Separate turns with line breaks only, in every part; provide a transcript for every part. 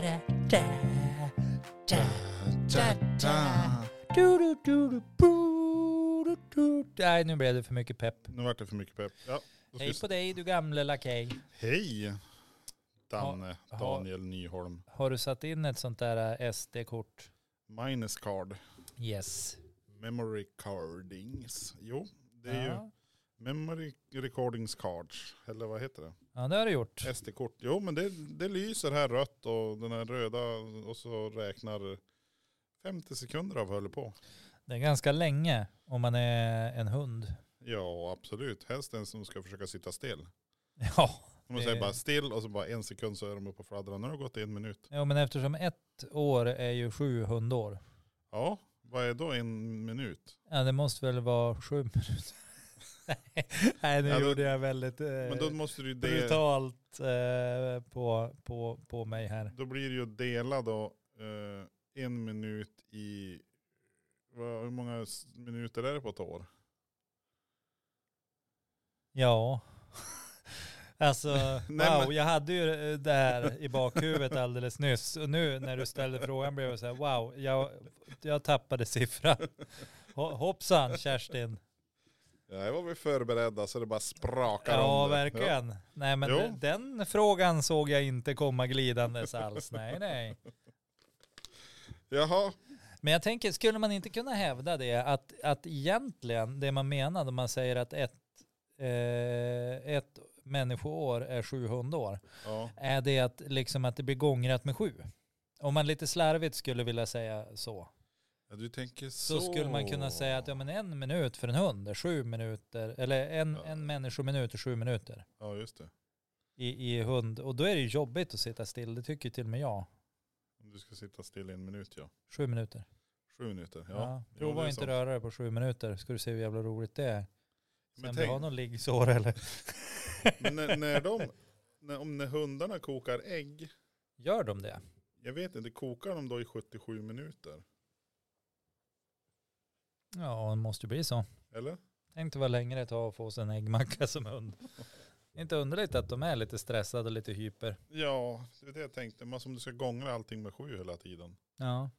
da, da, da, da. Du, du, du, du, bu, du, du. Nej, nu blev det för mycket pepp.
Nu vart det för mycket pepp. Ja, då ska
Hej
vi-
på dig du gamle lakej.
Hej! Danne,
Ja, ja.
Daniel Nyholm.
Har du satt in ett sånt där eh, SD-kort?
Minus card.
Yes.
Memory cardings. Jo, det är ju
ja.
memory recordings cards. Eller vad heter det?
ja, det har du gjort.
SD-kort. Jo, men det, det lyser här rött och den här röda och så räknar 50 sekunder av håller på.
Det är ganska länge om man är en hund.
Ja, absolut. Helst en som ska försöka sitta still.
Ja,
Om man
Det-
säger bara still och så bara en sekund så är de uppe och fladdrar. Nu har det gått en minut.
ja men eftersom ett år är ju sju hundår.
Ja, vad är då en minut?
Ja, det måste väl vara sju minuter. Nej, Nej, nu
Ja, då-
gjorde jag väldigt eh,
Men då måste du ju det...
brutalt eh, på, på, på mig här.
Då blir det ju dela då eh, en minut i, vad, hur många s- minuter är det på ett år?
Ja. Alltså,
Nej,
wow,
men-
jag hade ju eh, det här i bakhuvudet alldeles nyss. Och nu när du ställde frågan blev jag så här, wow, jag, jag tappade siffran. Ho- Hoppsan Kerstin.
Ja, här var vi förberedda så det bara sprakar
Ja,
om det.
verkligen. Nej, men
Jo.
den, den frågan såg jag inte komma glidandes alls. Nej, nej.
Ja. Jaha,
Men jag tänker, skulle man inte kunna hävda det att, att egentligen det man menar när man säger att ett, eh, ett människoår är 700 år,
ja.
är det att, liksom, att det blir gångrat med sju? Om man lite slarvigt skulle vilja säga så,
ja du tänker så.
så, skulle man kunna säga att ja, men en minut för en hund är sju minuter, eller en,
Ja.
en människominut är sju minuter.
Ja, just det.
i, i hund. Och då är det ju jobbigt att sitta still. Det tycker ju till och med jag.
Om du ska sitta still i en minut ja.
Sju minuter.
Sju minuter, ja.
Ja.
Jo,
Prova
det är
att inte
sant.
röra dig på sju minuter. Ska du se hur jävla roligt det är. Sen
Men
du har
tänk-
någon liggsår eller?
Men när, när de, när, om när hundarna kokar ägg,
Gör de det?
jag vet inte, kokar de då i 77 minuter?
Ja, det måste ju bli så.
Eller?
Tänk dig vad länge det tar att få sig en äggmacka som hund. Inte underligt att de är lite stressade och lite hyper.
Ja, det är det jag tänkte. Men som du ska gångra allting med sju hela tiden.
Ja,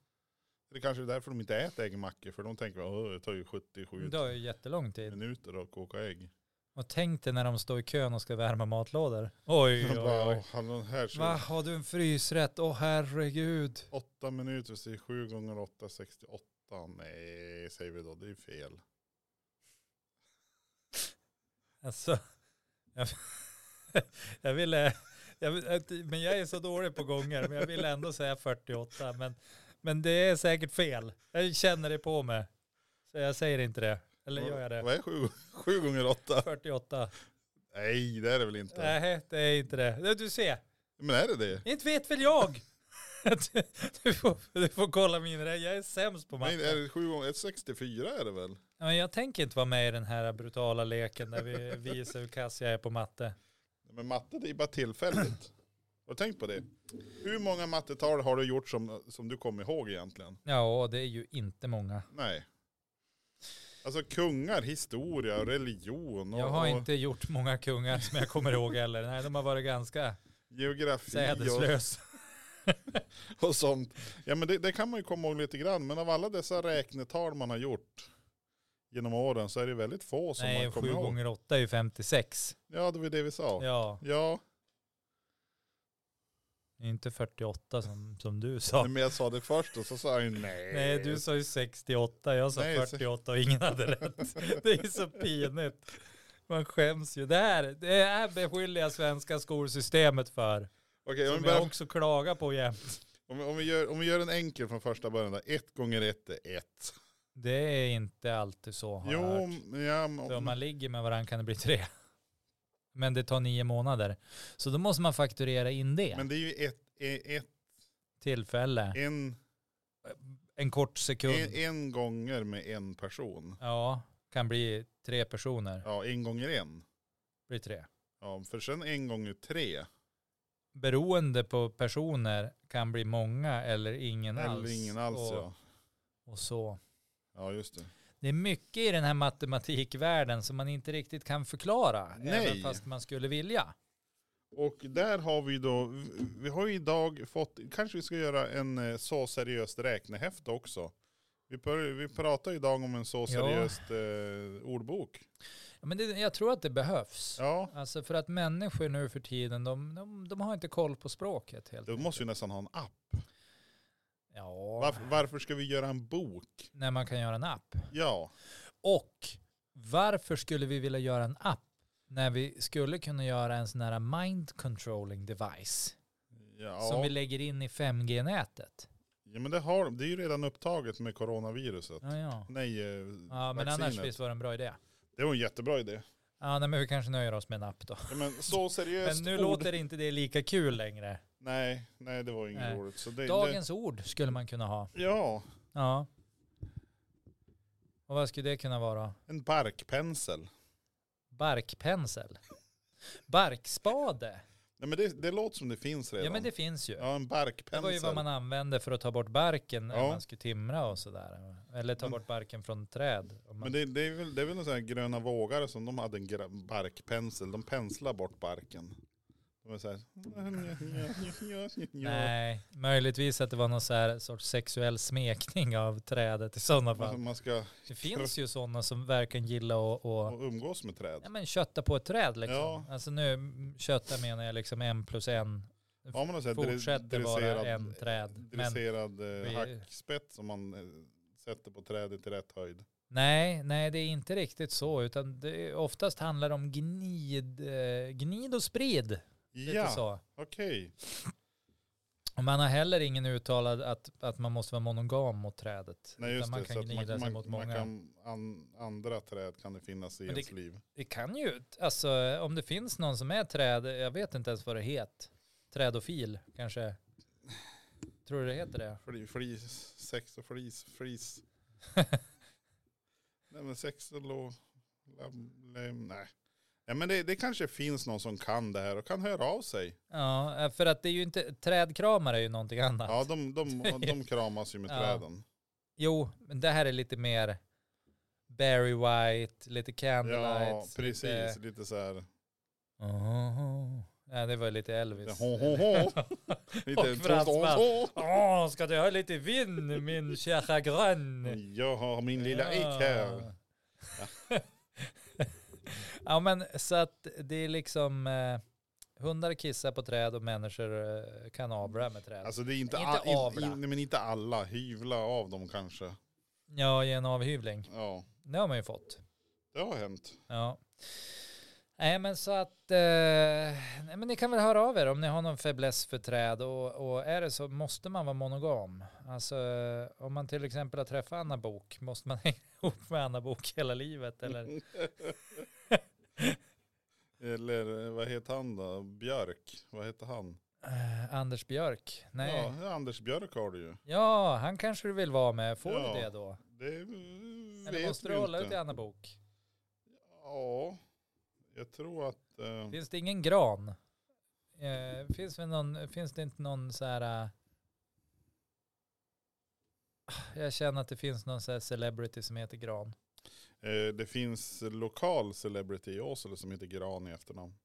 Det kanske är därför de inte äter äggmackor, för de tänker att det tar ju 77
det tar ju jättelång tid.
minuter att koka ägg.
Och tänk dig när de står i kön och ska värma matlådor. Oj,
De
oj,
bara,
oj.
"Åh, hallå, här ser
Va,
Va?
har du en frysrätt? Åh herregud.
8 minuter, så det är 7 gånger 8, 68. Nej, säger vi då, det är fel.
Alltså, jag, jag ville, jag, vill- att- men jag är så dålig på gånger, men jag vill ändå säga 48, men, men det är säkert fel. Jag känner det på mig, så jag säger inte det. Eller gör jag det?
Vad är 7, 7 gånger 8?
48.
Nej, det är det väl inte.
Nej, det är inte det. Du ser,
Men är det det?
inte vet väl jag. Du får, du får kolla min rätt. Jag är sämst på
Nej, är
matte.
det 7 gånger 1, 64 är det väl?
Men jag tänker inte vara med i den här brutala leken där vi visar hur kass jag är på matte.
Men matte, det är bara tillfälligt. Har du tänkt på det? Hur många mattetal har du gjort som, som du kommer ihåg egentligen?
Ja, det är ju inte många.
Nej. Alltså kungar, historia, och religion och,
Mm. Jag har
och
inte gjort många kungar som jag kommer ihåg heller. Nej, de har varit ganska
geografi och,
sädeslös.
och sånt. Ja men det, det kan man ju komma ihåg lite grann. Men av alla dessa räknetal man har gjort genom åren så är det väldigt få som
Nej,
man kommer
sju
ihåg.
gånger åtta är ju 56.
Ja det var det vi sa. Ja.
Ja, inte 48 som, som du sa.
Nej, men jag sa det först och så sa jag ju nej.
Nej, du sa ju 68, jag sa
Nej, så-
48 och ingen hade rätt. Det är ju så pinigt. Man skäms ju. Det här, det här beskyller jag svenska skolsystemet för.
Okej, om, vi
Som jag
börjar,
också klagar på jämt.
om, om, vi gör, om vi gör en enkel från första början där. Ett gånger ett är ett.
Det är inte alltid så. Har jag
Jo,
hört.
ja,
Så om
men,
man ligger med varandra kan det bli tre. Men det tar nio månader. Så då måste man fakturera in det.
men det är ju ett, e- ett,
Tillfälle.
en,
En kort sekund.
en, en gånger med en person.
Ja, kan bli tre personer.
Ja, en gånger en.
Blir tre.
Ja, för sen en gånger tre.
Beroende på personer kan bli många eller ingen alls.
Eller ingen alls
och,
ja.
och så.
Ja, just det.
Det är mycket i den här matematikvärlden som man inte riktigt kan förklara.
Nej.
Även fast man skulle vilja.
Och där har vi då, vi har ju idag fått, kanske vi ska göra en eh, så seriöst räknehäfte också. Vi, pr- vi pratar ju idag om en så seriöst eh, ordbok.
Ja, Men det, jag tror att det behövs.
Ja,
Alltså för att människor nu för tiden, de, de, de har inte koll på språket helt
då måste vi nästan ha en app.
Ja,
Varför, varför ska vi göra en bok?
när man kan göra en app.
Ja,
Och varför skulle vi vilja göra en app när vi skulle kunna göra en sån här mind controlling device som
ja.
vi lägger in i 5G-nätet?
ja men det, har, det är ju redan upptaget med coronaviruset.
Ja, ja.
Nej, eh,
ja men
vaccinet.
annars visst var det en bra idé.
Det var en jättebra idé.
Ja, nej, men vi kanske nöjer oss med en app då.
Ja, men så seriöst
Men nu
ord.
låter inte det lika kul längre.
Nej, nej det var inget
Nej.
roligt. Så det,
Dagens ord skulle man kunna ha.
det, ja,
Ja. Och vad skulle det kunna vara?
en barkpensel.
Barkpensel? Barkspade?
Nej men det, det låter som det finns redan.
Ja men det finns ju.
Ja, en
Det
barkpensel.
var ju vad man använde för att ta bort barken när
Ja.
man skulle timra och sådär. Eller ta
Men-
bort barken från träd. Om
Men
Man,
det, det, är väl, det är väl en sån här gröna vågare som de hade en gra- barkpensel. De penslar bort barken. De är så här.
Nej, möjligtvis att det var någon så här sorts sexuell smekning av trädet i sådana
Man,
fall.
man ska
Det finns ju sådana som verkligen gillar att, att
och umgås med träd.
ja, men kötta på ett träd liksom.
Ja.
Alltså nu, m, kötta menar jag liksom en plus en.
Har man en sån här dre-
Fortsätter vara
dresserad-
en träd. Men
Dresserad
vi-
eh, hackspett som man eh, sätter på trädet i rätt höjd.
Nej, nej det är inte riktigt så. Utan det är, oftast handlar det om gnid, eh, gnid och sprid. Lite
Ja,
så.
okej.
Och man har heller ingen uttalad att, att man måste vara monogam mot trädet.
Nej
Utan
just
man
det,
kan
så att
gnida
man,
sig
man,
mot
man
många.
kan, an, andra träd kan det finnas i
Men det-
ens liv.
Det kan ju, alltså om det finns någon som är träd, jag vet inte ens vad det heter. Trädofil kanske. Tror du det heter det?
Fli, flis, sex och flis, flis. nej men sex och lo, lam, lem, nej. Ja, men det, det kanske finns någon som kan det här och kan höra av sig.
Ja, eh, för att det är ju inte, trädkramare är ju någonting annat.
Ja, de, de, de kramas ju med
Ja.
träden.
Jo, men det här är lite mer Barry White, lite
Ja,
Candlelights.
precis.
Lite...
Lite, så här.
Oh, ja, det var lite Elvis.
Ho, ho, ho. lite
Och fransman.
ho, ho.
Åh, ska du ha lite vin min kära grann?
Jag har min lilla ek här.
ja men så att det är liksom eh, hundar kissar på träd och människor eh, kan avla med träd.
Alltså det är inte,
Inte
all, in,
avla.
in, nej, men inte alla. Hyvla av dem kanske.
Ja, ge en avhyvling.
Ja,
Det har man ju fått.
det har hänt.
Ja. Nej men så att, eh, nej, men ni kan väl höra av er om ni har någon fäbless för träd och, och är det så måste man vara monogam. Alltså eh, om man till exempel har träffat Anna Bok måste man hänga ihop med Anna Bok hela livet eller
Mm. Eller eh, vad heter han då? Björk? Vad heter han?
eh, Anders Björk. Nej. Ja.
Ja, Anders Björk har du ju.
han kanske du vill vara med. Får
Ja,
du det då?
Det eh,
Eller
vet
måste
vi
du hålla
inte.
ut i Anna Bok?
Ja, jag tror att... Eh,
Finns det ingen gran? Eh, finns, väl någon, finns det inte någon så här... eh, eh, Jag känner att det finns någon så här celebrity som heter Gran.
eh, det finns lokal celebrity i Åsele som heter Gran i efternamn.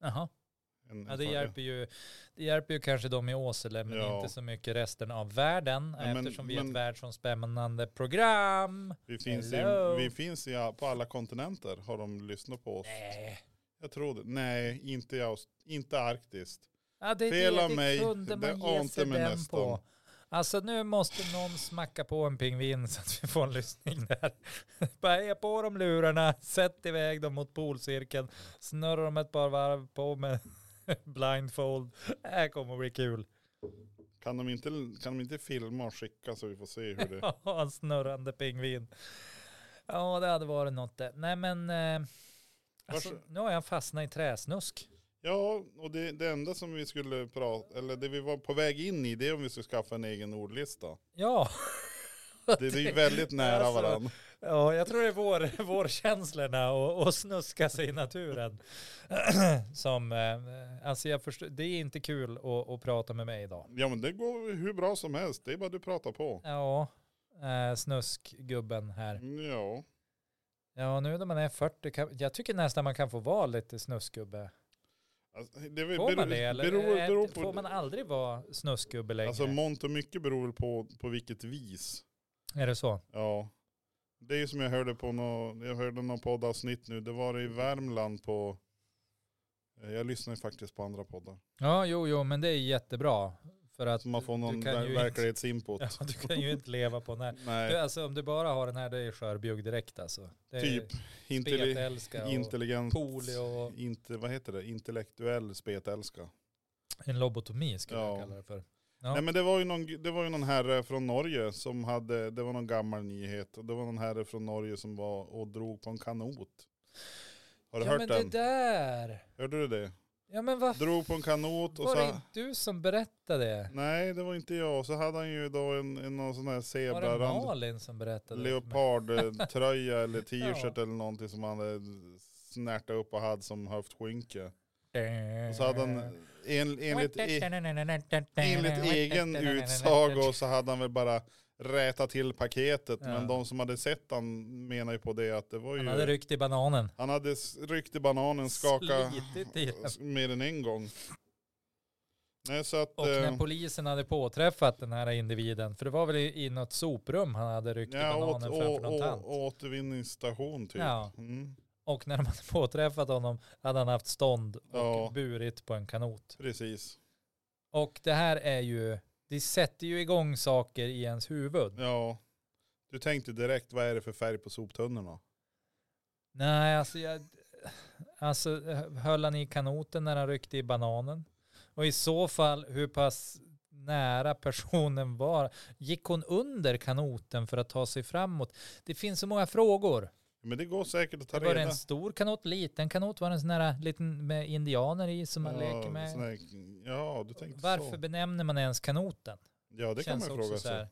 Jaha,
En,
ja,
en
det,
före-
hjälper ju, det hjälper ju kanske de i Åsele men
Ja.
inte så mycket resten av världen
Ja, men-
eftersom vi är
men-
ett världsomspännande program.
Vi finns, i,
Hello.
vi finns i, på alla kontinenter har de lyssnat på oss.
Nej.
Jag tror det. Nej, inte, i Aust- inte arktiskt.
Ja, det,
Fel
det,
av
det
mig.
kunde
Det
man ge
ante
sig
mig
den
nästan.
på. Alltså nu måste någon smacka på en pingvin så att vi får en lyssning där. Bara ge på dem lurarna, sätt iväg dem mot polcirkeln, snurra dem ett par varv på med blindfold. Det här kommer att bli kul.
Kan de inte, kan de inte filma och skicka så vi får se hur det...
Ja, en snurrande pingvin. Ja, det hade varit något det. Nej men, eh, alltså,
Varså-
nu har jag fastnat i träsnusk.
Ja, och det, det enda som vi skulle prata, eller det vi var på väg in i, det är om vi skulle skaffa en egen ordlista.
Ja.
Det, det är ju väldigt nära
alltså,
varandra.
Ja, jag tror det är vår, vårkänslorna och, och snuska sig i naturen. Som, eh, alltså jag förstår, det är inte kul att, att prata med mig idag.
Ja men det går hur bra som helst, det är bara du pratar på.
Ja, eh, snuskgubben här.
Ja,
Ja, nu när man är 40, kan, jag tycker nästan man kan få vara lite snuskgubbe.
Alltså, det är väl
Får
beror-
man det eller
beror-
Ä-
beror
får man aldrig vara snuskgubbe längre?
Alltså mångt och mycket beror väl på, på vilket vis.
är det så?
Ja. Det är ju som jag hörde på nå jag hörde någon poddavsnitt nu. Det var i Värmland på, eh, jag lyssnar ju faktiskt på andra poddar.
Ja, jo, jo, men det är jättebra. För att
Så man får
du-
någon
du kan
ver-
ju inte,
verklighetsinput.
ja, du kan ju inte leva på den här. Du,
Nej,
alltså om du bara har den här, det är skörbjugg direkt alltså. Det är
typ. Intelli
Spetälska och
intelligent.
polio och
Inte, vad heter det? Intellektuell spetälska.
en lobotomi skulle jag
Ja.
kalla det för. Ja.
Nej men det var ju någon, det var ju någon herre från Norge som hade, det var någon gammal nyhet. Och det var någon herre från Norge som var och drog på en kanot. Har du
ja,
hört
men
den?
det där.
Hörde du det?
Ja, men vad
Drog på en kanot och
Var det
så...
inte du som berättade det?
Nej det var inte jag. Så hade han ju då en, en någon sån här
Var det
zebrarand.
Malin som berättade? det för mig?
Leopardtröja eller t-shirt eller någonting som han hade snärtat upp och hade som höftskynke. Och så hade han en,
Mm.
enligt, e, Enligt egen utsago så hade han väl bara rätat till paketet.
Ja.
Men de som hade sett han menar ju på det att det var ju...
Han hade ryckt i bananen.
han hade s- ryckt i bananen, skakat
Slitit i den.
s- mer än en gång. Nej så att...
Och
eh,
när polisen hade påträffat den här individen, för det var väl i i något soprum han hade ryckt i
eh, ja, åt,
bananen framför
å,
någon
å,
tant.
återvinningsstation typ.
Ja.
Mm,
Och när de hade påträffat honom hade han haft stånd och
Ja.
burit på en kanot.
precis.
Och det här är ju, det sätter ju igång saker i ens huvud.
Ja. Du tänkte direkt, vad är det för färg på soptunnorna?
Nej, alltså jag... Alltså höll han i kanoten när han ryckte i bananen? Och i så fall hur pass nära personen var? Gick hon under kanoten för att ta sig framåt? Det finns så många frågor.
Men det går säkert att ta
var det
reda
en stor kanot, liten kanot? Var det en sån här liten med indianer i som man leker
sån
med?
här- ja, du tänkte
Varför
så.
benämner man ens kanoten?
Ja, det kan man ju fråga
så
sig.
här.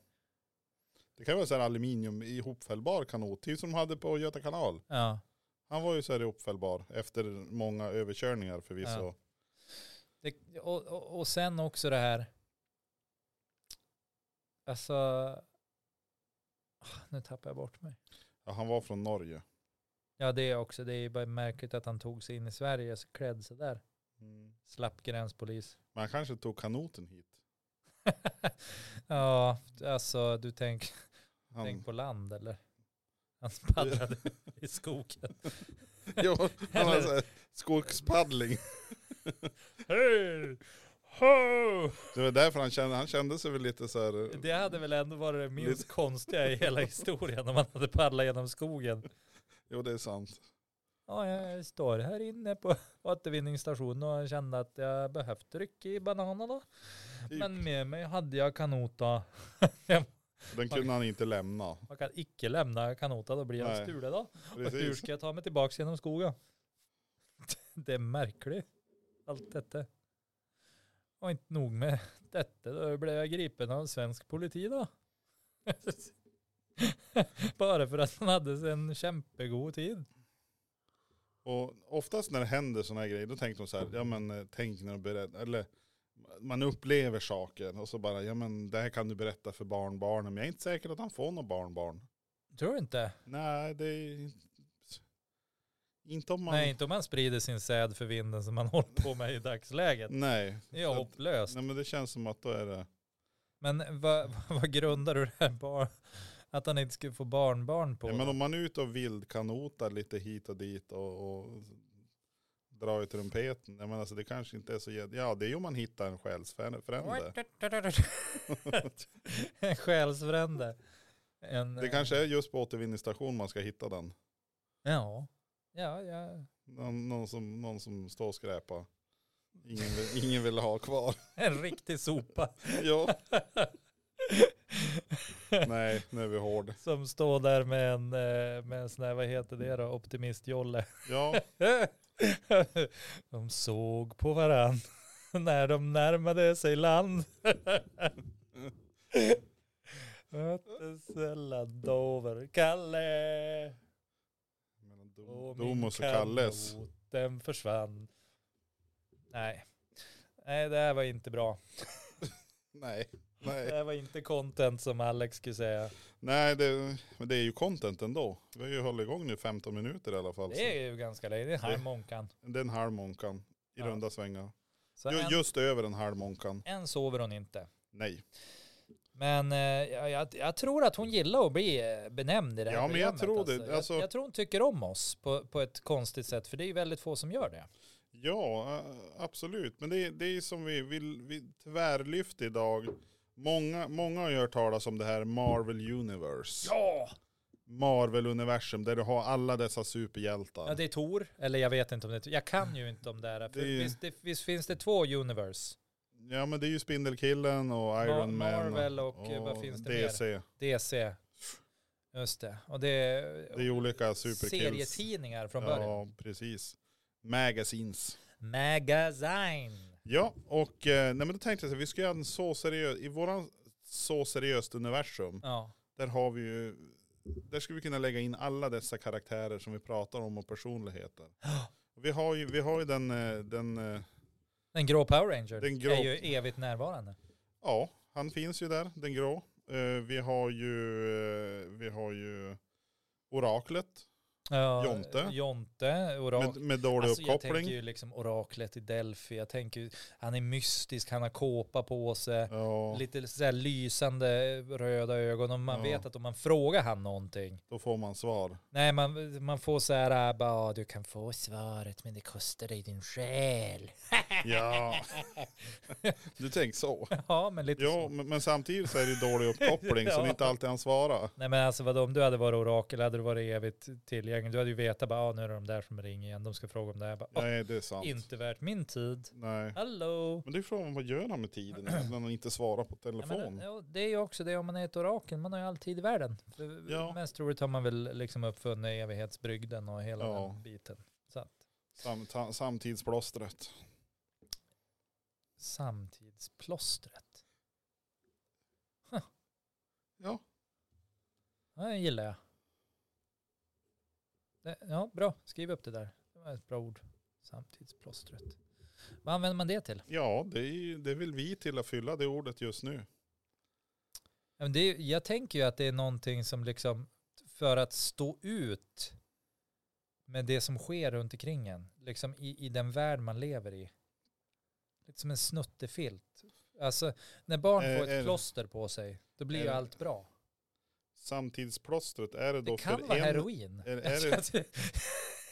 Det kan vara så här aluminium ihopfällbar kanot, typ som de hade på Göta kanal.
Ja.
Han var ju så här ihopfällbar efter många överkörningar förvisso.
Ja. Det, och, och, och sen också det här. Alltså. Ah, Nu tappar jag bort mig.
Ja, han var från Norge.
Ja det är också. Det är ju bara märkligt att han tog sig in i Sverige så klädd sådär. Slapp gränspolis.
Mm. Men han kanske tog kanoten hit.
ja alltså du tänk,
Han,
tänk på land eller? Han paddlade i skogen.
jo, han har
Eller-
så här skogspaddling.
Hej! Ho!
Det var därför han kände, han kände sig väl lite så här.
Det hade väl ändå varit det minst konstiga i hela historien om man hade paddlat genom skogen.
Jo det är sant.
Ja, jag står här inne på återvinningsstationen och kände att jag behövde rycka i bananerna.
Typ.
Men med mig hade jag kanota.
Den kunde han inte lämna.
Man kan icke lämna kanota, då blir jag
Nej,
stulen då. Och hur
Precis.
ska jag ta mig tillbaka genom skogen? Det är märkligt, allt detta. Och inte nog med detta, då blev jag gripen av svensk politi då. Bara för att han hade en kämpegod tid.
Och oftast när det händer sådana här grejer, då tänker de så här, ja men eh, tänk när du berättar, eller man upplever saker och så bara, ja men det här kan du berätta för barnbarnen, men jag är inte säker att han får något barnbarn.
Tror du inte?
Nej, det är inte om man...
Nej, inte om man sprider sin säd för vinden som man håller på med i dagsläget.
Nej.
Det är
Så att-
hopplöst.
Nej men det känns som att då är det,
Men vad, vad grundar du det här bar, att han inte skulle få barnbarn på?
ja, men
då?
om man är ute och vildkanotar lite hit och dit och, och drar i trumpeten, jag menar alltså det kanske inte är så, jä- ja det är ju om man hittar en själsfrände.
En själsfrände. En,
Det kanske är just på återvinningsstation man ska hitta den.
eh, Ja. Ja, ja.
Någon, någon, som, någon som står och skräpar. Ingen vill, ingen vill ha kvar.
En riktig sopa
ja. Nej, nu är vi hård.
som står där med en, eh, med en sån här, vad heter det då, optimistjolle.
Ja,
De såg på varann när de närmade sig land. Öttesella dover Kalle
mellan
och
Dom-
min
Domus och Kalles.
kanot, Den försvann. Nej. Nej, det här var inte bra.
Nej,
Det
nej.
här var inte content som Alex skulle säga.
nej det, men det är ju content ändå. Vi har ju hållit igång nu 15 minuter i alla fall. så
Det är ju ganska länge. Det är här
Det-
Månkan.
Det är en halv månkan. i
Ja.
runda svängar.
Så
Ju-
en,
Just över den här månkan.
än sover hon inte.
Nej.
Men eh, jag, jag, jag tror att hon gillar att bli eh, benämnd i det här
Ja, men jag
programmet,
tror
alltså.
det. Alltså-
Jag, jag tror hon tycker om oss på, på ett konstigt sätt, för det är ju väldigt få som gör det.
Ja, eh, absolut. Men det, det är som vi, vi, vi tvärlyft idag. Många, många har ju hört talas om det här Marvel Universe.
Ja!
Marvel-universum där du har alla dessa superhjältar.
Ja, det är Tor, eller jag vet inte om det är Tor. Jag kan ju inte om det här. För
Det är-
visst, det, visst finns det två universe?
Ja men det är ju Spindelkillen och Iron Man.
Marvel och, eh, vad finns det mer?
DC. mer?
DC. Just det. Och det
Det är ju olika superkills.
Eh, serietidningar från början.
Ja precis. Magazines.
Magazine.
Ja och eh, nej, men då tänkte jag så här, vi ska göra en så seriös, i våran så seriöst universum,
Ja.
där har vi ju, där skulle vi kunna lägga in alla dessa karaktärer som vi pratar om och personligheter. Vi har ju, vi har ju den, eh, den, eh,
Den grå Power Ranger
Den grå-
är ju evigt närvarande.
ja han finns ju där, den grå. Eh, Vi har ju, eh, vi har ju Oraklet.
Ja,
Jonte.
Jonte, Oraklet.
Med, med dålig
Alltså, jag tänker
uppkoppling.
ju liksom oraklet i Delphi. Jag tänker ju, han är mystisk, han har kåpa på sig.
Ja,
Lite så här lysande röda ögon och man
Ja.
vet att om man frågar han någonting.
då får man svar.
Nej, man, man får så här, äh, bara, "Ja, du kan få svaret men det kostar dig din själ.
Ja. Du tänker så.
Ja, men lite
Ja,
så.
men, men samtidigt så är det ju dålig uppkoppling så det är inte alltid han svarar.
Nej men alltså vadå, om du hade varit orakel hade du varit evigt tillgänglig. Du hade ju vetat bara, ah, nu är det de där som ringer igen, de ska fråga om det här. Bara, "Åh,
Nej, det är sant.
inte värt min tid.
Nej.
Hallå?
Men det är frågan, vad gör han med tiden när han inte svarar på
Ja, men,
telefon?
ja, det är ju också det om man är ett orakel, man har ju all tid i världen. För
Ja.
Mest troligt har man väl liksom uppfunnit evighetsbrygden och hela
Ja.
den biten. Så att,
Sam, ta, samtidsplåstret.
samtidsplåstret.
Ja,
Ja, det gillar jag. Det, ja, bra. Skriv upp det där. Det var ett bra ord. Samtidsplåstret. Vad använder man det till?
ja det, är, ju- det vill vi till att fylla det ordet just nu.
Ja, men det, är- jag tänker ju att det är någonting som liksom för att stå ut med det som sker runt omkring en. Liksom i, i den värld man lever i. Lite som en snuttefilt. Alltså när barn
Eh,
får ett
är det-
plåster på sig, då blir ju
är det-
allt bra.
Samtidsplåstret, är det
Det
då
kan
för
vara
en...
heroin.
är- är det-
jag, tror,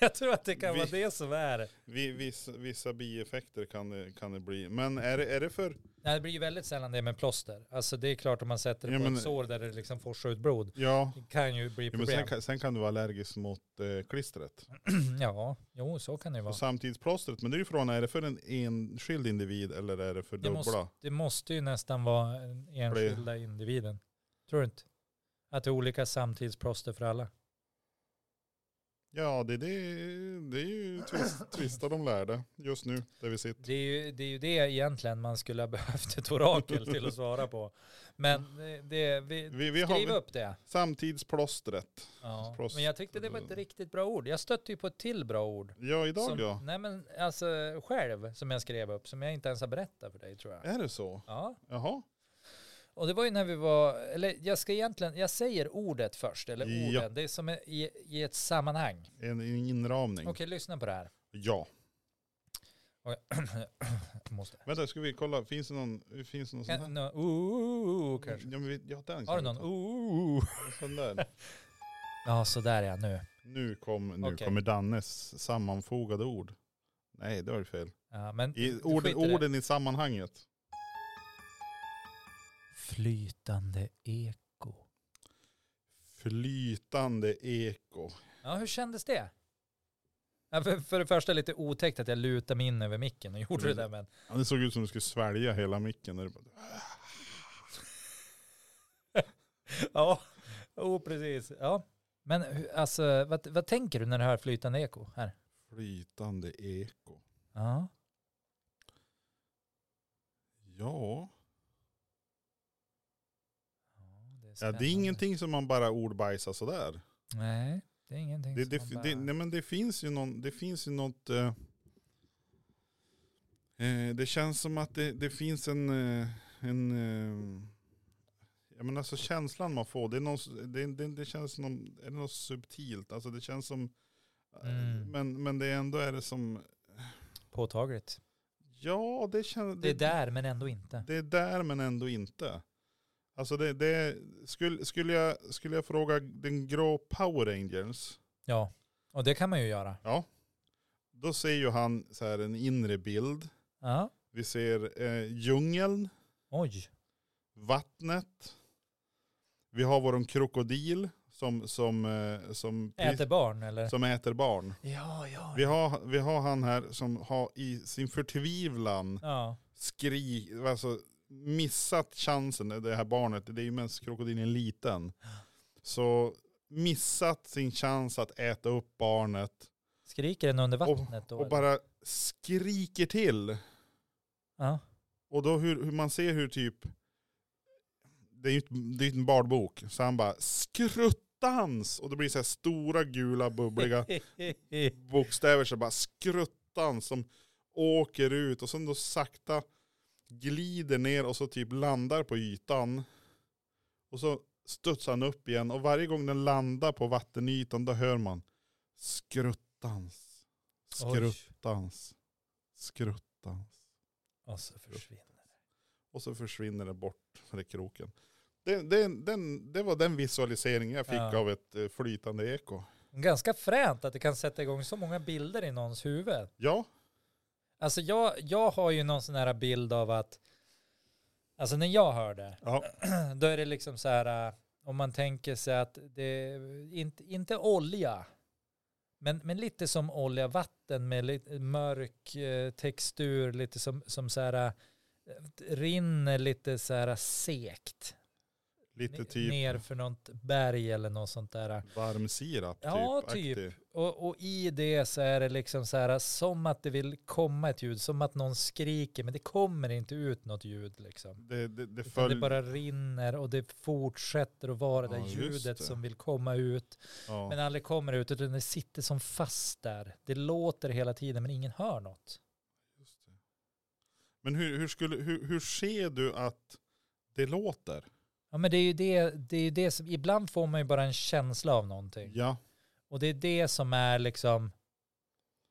jag tror att det kan
Vi-
vara det som är.
Vi, vissa, vissa bieffekter kan det, kan det bli. Men är det, är det för...
Nej, det blir ju väldigt sällan det med plåster. Alltså det är klart om man sätter det
Ja,
på
men-
ett sår där det liksom forsar ut blod.
Ja,
Det kan ju bli
ja men
problem.
sen, kan- sen kan du vara allergisk mot eh, klistret.
Ja, jo så kan det ju vara.
Och samtidsplåstret, men det är ju frågan, är det för en enskild individ eller är det för
Det
dubbla?
måste- Det måste ju nästan vara den enskilda individen. Tror du inte? Att det är olika samtidsproster för alla.
Ja, det, det, det är ju twist, twista de lärde just nu, där vi sitter.
Det är, ju, det är ju det egentligen man skulle ha behövt ett orakel till att svara på. Men det, det, vi,
Vi, vi
skriv
har
upp det.
samtidsplåstret.
Ja.
prost.
Men jag tyckte det var ett riktigt bra ord. Jag stötte ju på ett till bra ord.
Ja, idag
som,
ja.
Nej men alltså själv som jag skrev upp som jag inte ens har berättat för dig tror jag.
Är det så?
Ja,
Jaha.
och det var ju när vi var, eller jag ska egentligen, jag säger ordet först, eller
Ja. Mm.
orden, det är som i, i ett sammanhang.
En, en inramning.
Okej, lyssna på det här.
Ja.
Måste.
Vänta, ska vi kolla, finns det någon, finns det någon sån
Kan,
här?
nå- ooh, ooh, ooh, kanske.
Mm, Ja, men vi, ja, den
Har du
kan vi ta.
någon? Oh. Ooh, ooh.
En Sån där.
Ja, så där ja, nu.
Nu, kom, nu
Okej.
kommer Dannes sammanfogade ord. Nej, det var ju fel.
Ja, men
I,
du
orden,
skiter i det.
orden i sammanhanget.
Flytande eko.
Flytande eko.
Ja, hur kändes det? Ja, för, för det första lite otäckt att jag lutade mig in över micken och gjorde det där, men
Ja, det såg ut som du skulle svälja hela micken. När du bara,
ja, oh, precis. Ja. Men hur- alltså, vad, vad tänker du när du hör flytande eko här?
flytande eko.
Ja.
Ja.
det, är
ja, det
spännande.
är ingenting som man bara ordbajsar sådär.
Nej, det är ingenting.
Det,
som man
det,
bara-
det, nej, men det finns ju, någon, det finns ju något... Eh, eh, det känns som att det, det finns en... Eh, en eh, jag menar alltså känslan man får, det, är någon, s- det, det, det känns som är det något subtilt. Alltså det känns som... eh,
Mm.
Men, men det ändå är det som...
Påtagligt.
Ja, det känns...
Det är där men ändå inte.
Det är där men ändå inte. Alltså det, det skulle, skulle, jag, skulle jag fråga den grå Power Rangers,
Ja, och det kan man ju göra.
ja, då ser ju han så här en inre bild.
Ja.
Vi ser eh, djungeln,
Oj.
vattnet. Vi har vår krokodil som, som, eh, som,
Äter barn eller?
som äter barn.
Ja, ja.
Vi har, vi har han här som har i sin förtvivlan
Ja,
skrik, alltså missat chansen, det här barnet, det är ju mest krokodilen liten. Så missat sin chans att äta upp barnet
skriker den under vattnet då?
och
eller?
bara skriker till.
ja.
Och då hur, hur man ser hur typ, det är ju ett- det är ju en barnbok, så han bara skruttans! Och det blir så här stora gula bubbliga bokstäver så bara skruttans som åker ut och sen då sakta glider ner och så typ landar på ytan. Och så studsar han upp igen och varje gång den landar på vattenytan då hör man skruttans, skruttans, skruttans.
Och så försvinner
Och så försvinner det bort med kroken. Det, det, den, det var den visualiseringen jag fick
Ja.
av ett eh, flytande eko.
Ganska fränt att det kan sätta igång så många bilder i någons huvud.
Ja,
Alltså jag, jag har ju någon sån här bild av att, alltså när jag hör det,
ja,
då är det liksom så här, äh, om man tänker sig att det, inte, inte olja, men, men lite som olja, vatten med lite mörk eh, textur, lite som, som så här, äh, rinner lite så här sekt.
lite
ne-
typ
Ner för något berg eller något sånt där.
varm sirap.
Ja,
aktig.
typ. Och, och i det så är det liksom så här som att det vill komma ett ljud, som att någon skriker, men det kommer inte ut något ljud liksom.
Det, det, det
Utan
följer.
Det bara rinner och det fortsätter att vara det
Ja,
där
just
ljudet
det.
som vill komma ut,
ja.
men aldrig kommer ut, utan det sitter som fast där. Det låter hela tiden, men ingen hör något.
Just det. Men hur, hur, skulle, hur, hur ser du att det låter?
Ja, men det är ju det, det, är ju det som, ibland får man ju bara en känsla av någonting.
Ja,
Och det är det som är liksom,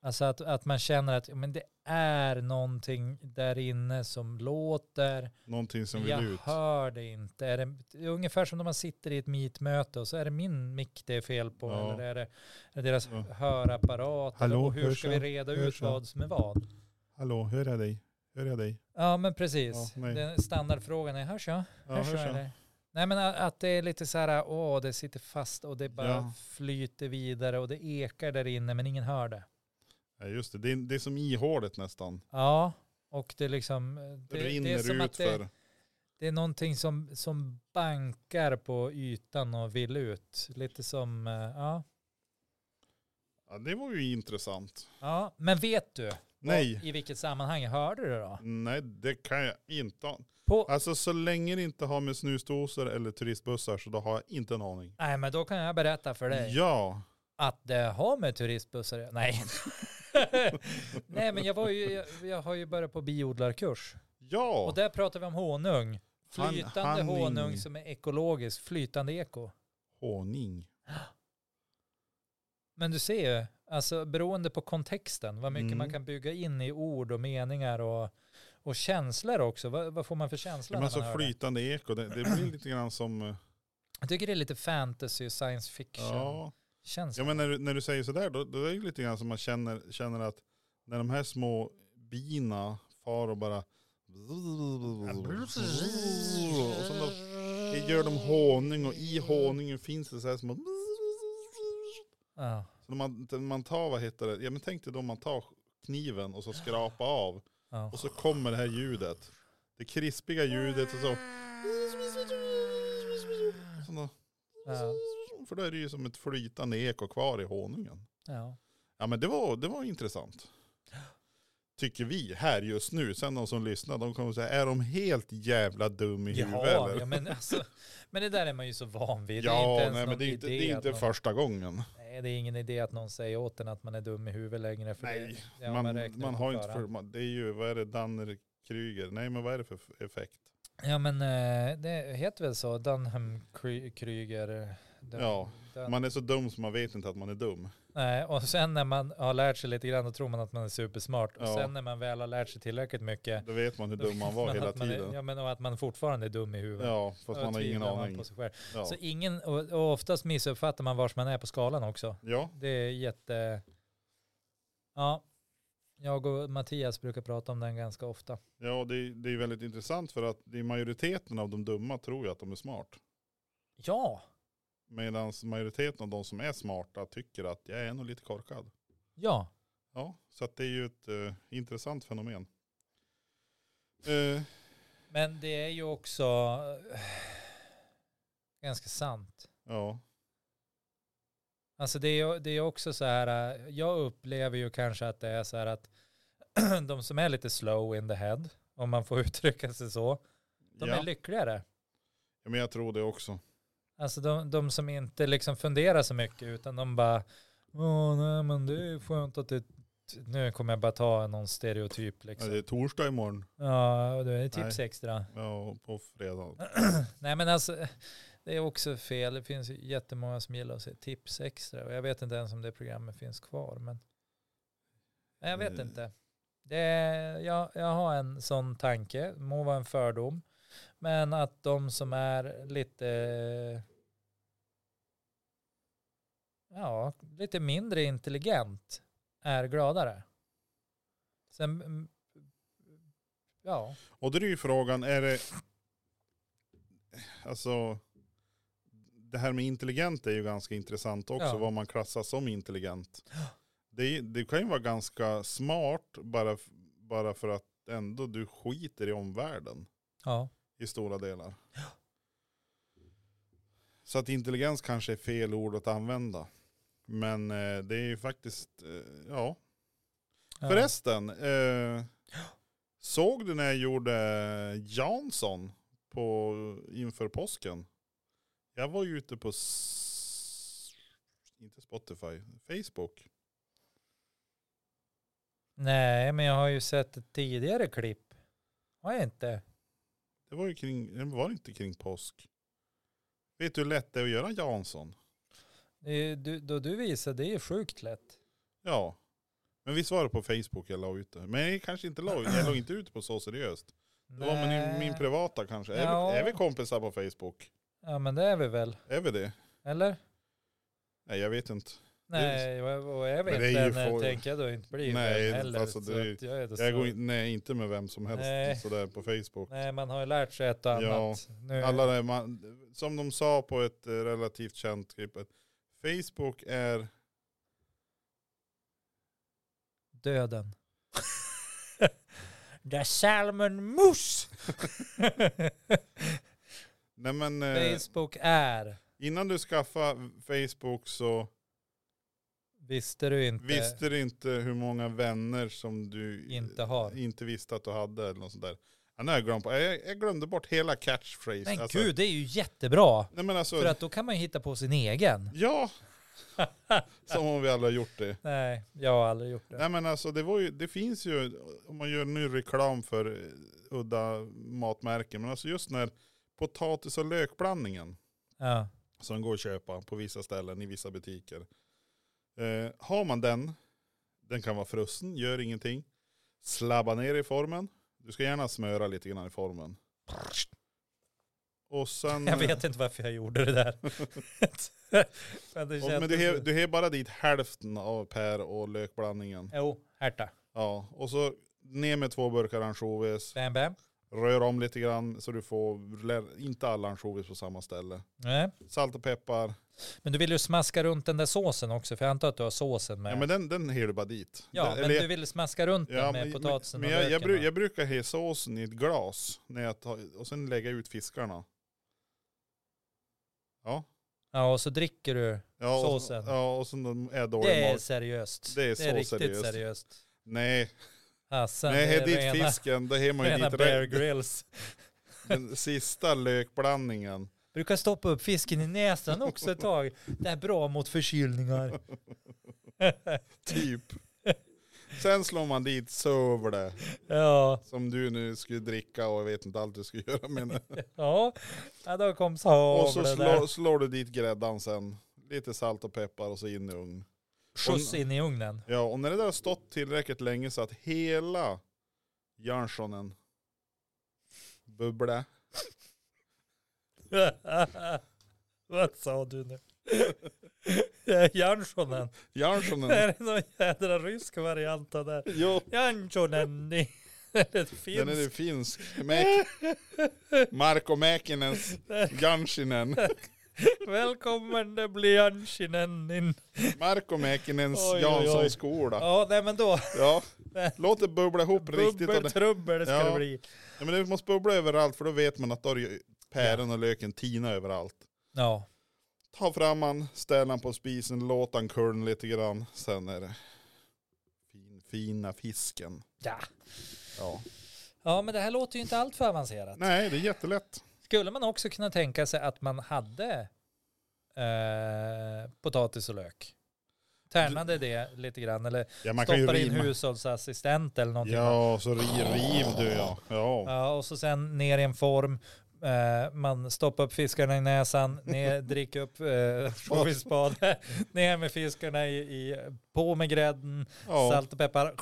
alltså att, att man känner att ja, men det är någonting där inne som låter.
någonting som
men
vill
jag
ut.
hör det inte. Är det, det är ungefär som när man sitter i ett meetmöte och så är det min mick det är fel på
Ja.
eller är det, är det deras
Ja.
hörapparat.
Hallå,
eller, och hur
hörs
ska vi
jag?
reda
Hörs
ut
jag?
vad som är vad?
Hallå, hör jag dig? Hör jag dig?
Ja men precis.
Ja, nej.
Den standardfrågan är hörs jag?
Ja,
hörs
hörs
jag?
jag?
eller? Nej men a- att det är lite så här, åh det sitter fast och det bara
Ja.
flyter vidare och det ekar där inne men ingen hör det.
Ja, just det. Det är, det är som ihålet nästan.
Ja, och det liksom...
Det,
Det, det,
rinner
är som
ut
att det,
för.
det är någonting som, som bankar på ytan och vill ut. Lite som, eh, ja.
Ja, det var ju intressant.
ja. Men vet du
Nej,
vad- i vilket sammanhang hörde du det då?
nej det kan jag inte. ha-
På,
Alltså så länge det inte har med snusdosor eller turistbussar så då har jag inte en aning.
Nej, men då kan jag berätta för dig
Ja,
att det har med turistbussar Nej. Nej, men jag, var ju, jag, jag har ju börjat på biodlarkurs.
ja.
Och där pratar vi om honung.
Han-
Flytande
honung.
honung som är ekologisk, flytande eko.
Honung.
Men du ser ju, alltså beroende på kontexten, vad mycket
Mm.
man kan bygga in i ord och meningar och, och känslor också. Vad, vad får man för känsla
Ja,
när
men alltså
man
så
hör det?
flytande eko, det, det blir lite grann som... eh,
Jag tycker det är lite fantasy, science fiction-känsla.
Ja. Ja men när du, när du säger sådär då, då är det ju lite grann som man känner, känner att när de här små bina far och bara och sen då, det gör de honung och i honungen finns det så här små
Ja,
så när man, när man tar, vad heter det, ja men tänk dig då man tar kniven och så skrapar av
ja.
och så kommer det här ljudet. Det krispiga ljudet och så. Sen då,
Ja.
för då är det ju som ett flytande eko kvar i honungen.
ja.
Ja men det var, det var intressant. Tycker vi här just nu. Sen de som lyssnar, de kommer säga, är de helt jävla dum i huvudet
Jaha,
eller?
ja, men, alltså, men det där är man ju så van vid.
Ja,
ens
nej,
någon
men det är inte,
idé
det är
att
inte
någon,
första gången.
Nej, det är ingen idé att någon säger åt en att man är dum i huvudet längre. För
Nej,
det, ja,
man,
räknar
man
på
har ju inte
förhand.
för, man, det är ju, vad är det, Danner Kryger? Nej men vad är det för f- effekt?
Ja men eh, det heter väl så, Dunham Kry- Kryger Den,
Ja,
den.
Man är så dum så man vet inte att man är dum.
Nej, och sen när man har lärt sig lite grann då tror man att man är supersmart. Och
Ja.
sen när man väl har lärt sig tillräckligt mycket.
Då vet man hur
då
dum man
vet
var
man
hela
att man Är,
tiden.
ja, men och att man fortfarande är dum i huvudet.
Ja, fast
Då
man har ingen
tvivlar man
aning.
På sig själv.
Ja.
Så ingen, och, och oftast missuppfattar man vars man är på skalan också.
ja,
Det är jätte... Ja, jag och Mattias brukar prata om den ganska ofta.
ja det, är- det är väldigt intressant för att i majoriteten av de dumma tror jag att de är smart.
Ja,
Medan majoriteten av de som är smarta tycker att jag är nog lite korkad.
ja.
Ja, så att det är ju ett eh, intressant fenomen. Eh,
Men det är ju också eh, ganska sant.
ja,
Alltså det är, det är också så här, eh, jag upplever ju kanske att det är så här att de som är lite slow in the head, om man får uttrycka sig så, de är
ja.
lyckligare.
ja, men jag tror det också.
Alltså de, de som inte liksom funderar så mycket utan de bara, åh nej men det är skönt att det, nu kommer jag bara ta någon stereotyp
Ja,
liksom.
det är torsdag imorgon
Ja, typ det är tips
Nej.
extra.
ja, och på fredag.
Nej men alltså, det är också fel. Det finns ju jättemånga som gillar att se tips extra. Och jag vet inte ens om det programmet finns kvar. Men... Nej, jag vet
Mm.
inte. Det är, jag, jag har en sån tanke, må vara en fördom. Men att de som är lite, ja, lite mindre intelligent är gladare. Sen, mm, ja,
Och då är ju frågan, är det, alltså, det här med intelligent är ju ganska intressant också,
Ja.
vad man klassar som intelligent. Det, är- det kan ju vara ganska smart bara, f- bara för att ändå du skiter i omvärlden
ja,
i stora delar. Så att intelligens kanske är fel ord att använda. Men eh, det är ju faktiskt, eh, ja,
ja.
Förresten, eh, såg du när jag gjorde Jansson på, inför påsken? Jag var ju ute på, s- inte Spotify, Facebook.
Nej, men jag har ju sett ett tidigare klipp. Har jag inte?
Det var ju kring, det var inte kring påsk. Vet du hur lätt det är att göra Jansson?
Det är ju- Du, då du visade, det är ju sjukt lätt.
Ja. Men visst var det på Facebook jag la ut det? Men jag kanske inte la ut, jag la inte ut på så seriöst. Det var min, min privata kanske. Är,
Ja.
vi, är vi kompisar på Facebook?
Ja, men det är vi väl?
Är vi det?
Eller?
Nej jag vet inte.
Nej, och och jag
Men
vet
det är ju
inte, när
få-
tänker jag då inte bli
Nej,
vän heller.
alltså det är ju-
så att jag är det
Jag
så-
går in, nej, inte med vem som helst
Nej.
sådär på Facebook.
Nej, man har ju lärt sig ett och
Ja,
annat. Nu,
Alla där man, som de sa på ett eh, relativt känt klipp, att Facebook är,
Döden. The Salmon Moose!
nej men eh,
Facebook är,
innan du skaffade Facebook så
visste du inte,
visste du inte hur många vänner som du
inte har.
inte visste att du hade eller något sådär. Ja, nu har jag, glömt, på- jag, jag glömde bort hela catchphrase.
Men
alltså,
gud, det är ju jättebra.
Nej men alltså,
För att då kan man ju hitta på sin egen.
ja. som om vi alla har gjort det.
Nej, jag har aldrig gjort det.
Nej men alltså det, var ju, det finns ju, om man gör nu reklam för eh, udda matmärken, men alltså just när potatis och lökblandningen
Ja.
som går att köpa på vissa ställen i vissa butiker. Eh, har man den, den kan vara frusen, gör ingenting. Slabba ner i formen. Du ska gärna smöra lite grann i formen. Och sen...
Jag vet inte varför jag gjorde det där. men det
och, men du, he, du he bara dit hälften av pär och lökblandningen.
Jo, härta.
Ja, och så ner med två burkar ansjovis.
Bam, bam.
Rör om lite grann så du får lä- inte alla ansjovis på samma ställe.
Nej.
Salt och peppar.
Men du vill ju smaska runt den där såsen också, för jag antar att du har såsen med.
Ja men den, den häller du bara dit.
Ja,
Den-
men
eller-
du vill smaska runt den med
men-
potatisen
men
och
jag, jag,
löken.
bru,
va?
jag brukar hälla såsen i ett glas när jag tar, och sen lägga ut fiskarna. Ja.
Ja, och så dricker du.
ja och-
Såsen.
Ja och sen de är dålig
Det är
mat.
seriöst.
Det är så
riktigt
seriöst.
seriöst.
Nej,
Alltså,
när jag häller dit
rena,
fisken då häller man ju
rena
dit
Bear
re-
Grylls.
den sista lökblandningen.
Brukar stoppa upp fisken i näsan också ett tag. Det är bra mot förkylningar.
Typ. Sen slår man dit sövle.
Ja,
Som du nu skulle dricka och jag vet inte allt du skulle göra med det.
ja. ja då kom så
Och så slår, slår du dit gräddan sen. Lite salt och peppar och så in i ugn.
Skjuts in i ugnen.
Ja, och när det där har stått tillräckligt länge så att hela Janssonen bubblar.
Vad sa du nu? Ja,
Mm.
Janssonen.
Janssonen,
Är det någon jädra rysk variant av det?
jo,
Janssonen. Det är ett
den är
finskt.
ju finsk. Mäk, Marko Mäkinens Janssinen.
Välkommen det blir Janssinen in.
Marko Mäkinens
Oj, oj, oj.
Janssons skola.
Ja, nej men då.
Ja, låt det bubbla ihop riktigt. och det-
Bubbeltrubbel ska
Ja.
det bli.
Ja, men det måste bubbla överallt för då vet man att då har ju päron och löken tina överallt.
Ja.
Ta fram han, ställ han på spisen, låt han kulna lite grann. Sen är det fin, fina fisken.
ja.
Ja.
Ja, men det här låter ju inte allt för avancerat.
Nej, det är jättelätt.
Skulle man också kunna tänka sig att man hade eh, potatis och lök? Tärnade det lite grann eller
Ja, man kan ju
stoppar in
rima.
hushållsassistent eller någonting.
Ja, så riv, riv du ja. Ja,
Ja, och så sen ner i en form. Eh, man stoppar upp fiskarna i näsan, ner, dricker upp eh, fågelspade, ner med fiskarna i, i, på med grädden,
ja.
salt och peppar.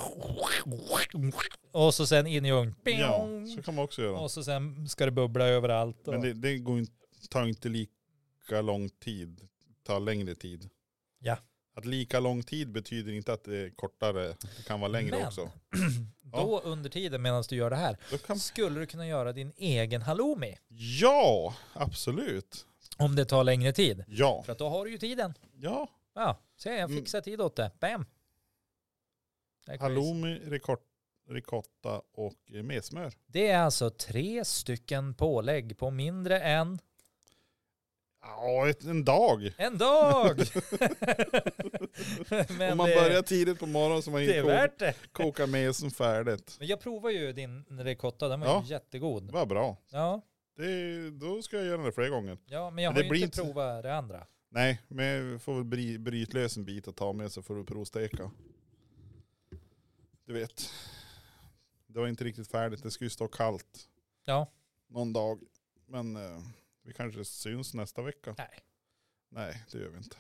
Och så sen in i ugn.
ja så kan man också göra.
Och så sen ska det bubbla överallt. Och,
Men det, det går inte, tar inte lika lång tid. Tar längre tid.
Ja.
Att lika lång tid betyder inte att det är kortare. Det kan vara längre
Men-
också.
Då under tiden medan du gör det här
Då kan,
skulle du kunna göra din egen halloumi.
ja, absolut.
Om det tar längre tid.
Ja.
För att då har du ju tiden.
Ja,
Ja, se jag
Mm.
fixar tid åt det. Bam! Det är crazy.
halloumi, ricot- ricotta och eh, messmör.
Det är alltså tre stycken pålägg på mindre än
Ja, ett- en dag.
en dag.
Om
Men
man
det,
börjar tidigt på morgonen så man
det är
hinner koka,
värt det.
koka mesen färdigt.
Men jag provar ju din ricotta, den var
Ja.
ju jättegod.
Vad bra.
Ja,
Det, då ska jag göra det fler gånger.
ja, men jag
Men
har
det
ju
blir
inte
inte-
provat det andra.
Nej, men jag får väl bry, bryt lös en bit och ta med så får du provsteka. Du vet, det var inte riktigt färdigt. Det skulle ju stå kallt
Ja.
någon dag. Men eh, vi kanske syns nästa vecka.
Nej,
Nej, det gör vi inte.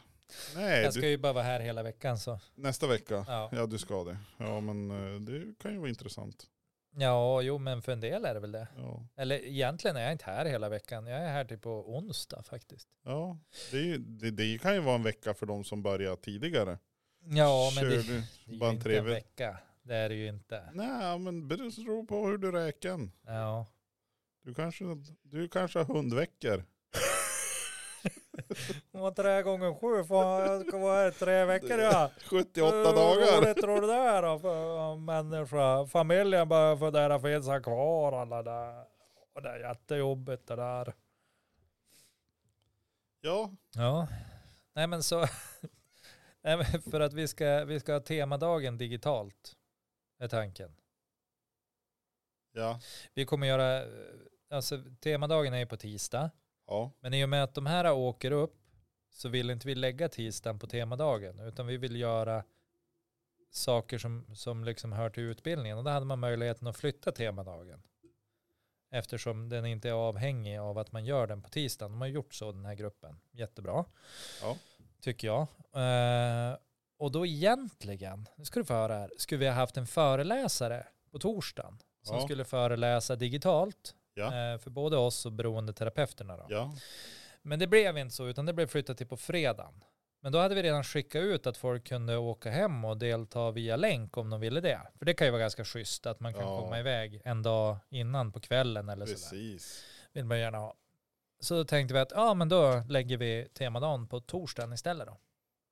Nej,
jag
du,
ska ju bara vara här hela veckan så.
nästa vecka.
Ja,
Ja, du ska det. Ja, men eh, det kan ju vara intressant.
ja jo men för en del är det väl det.
Ja,
Eller egentligen är jag inte här hela veckan. Jag är här till på onsdag faktiskt.
ja. Det, är ju, det, det kan ju vara en vecka för de som börjar tidigare.
Ja, men det,
Kör du
det är
bara
ju
en
inte en
trevlig...
vecka. Det är det ju inte.
Nej, men det beror på hur du räknar.
Ja.
Du kanske, du kanske har hundveckor.
Och tre gånger sju får jag ska vara här tre veckor ja.
78
Eh, Hur
dagar.
roligt tror du det är då för en människa? Familjen börjar fundera, finns han kvar alla där? Och det är jättejobbigt det där.
Ja,
Ja, nej men så. Nej, men för att vi ska, vi ska ha temadagen digitalt är tanken.
ja,
Vi kommer göra, eh, alltså temadagen är ju på tisdag.
ja.
Men i och med att de här åker upp så vill inte vi lägga tisdagen på temadagen utan vi vill göra saker som, som liksom hör till utbildningen och då hade man möjligheten att flytta temadagen eftersom den inte är avhängig av att man gör den på tisdagen. De har gjort så den här gruppen. Jättebra.
Ja.
Tycker jag. Eh, och då egentligen, nu ska du få höra här, skulle vi ha haft en föreläsare på torsdagen som
Ja.
skulle föreläsa digitalt
Ja.
eh, för både oss och beroendeterapeuterna. Då.
ja.
Men det blev inte så, utan det blev flyttat till på fredagen. Men då hade vi redan skickat ut att folk kunde åka hem och delta via länk om de ville det. För det kan ju vara ganska schysst att man kan
Ja.
komma iväg en dag innan på kvällen eller sådär.
Precis.
Vill man gärna ha. Så då tänkte vi att ja, men då lägger vi temadagen på torsdagen istället då.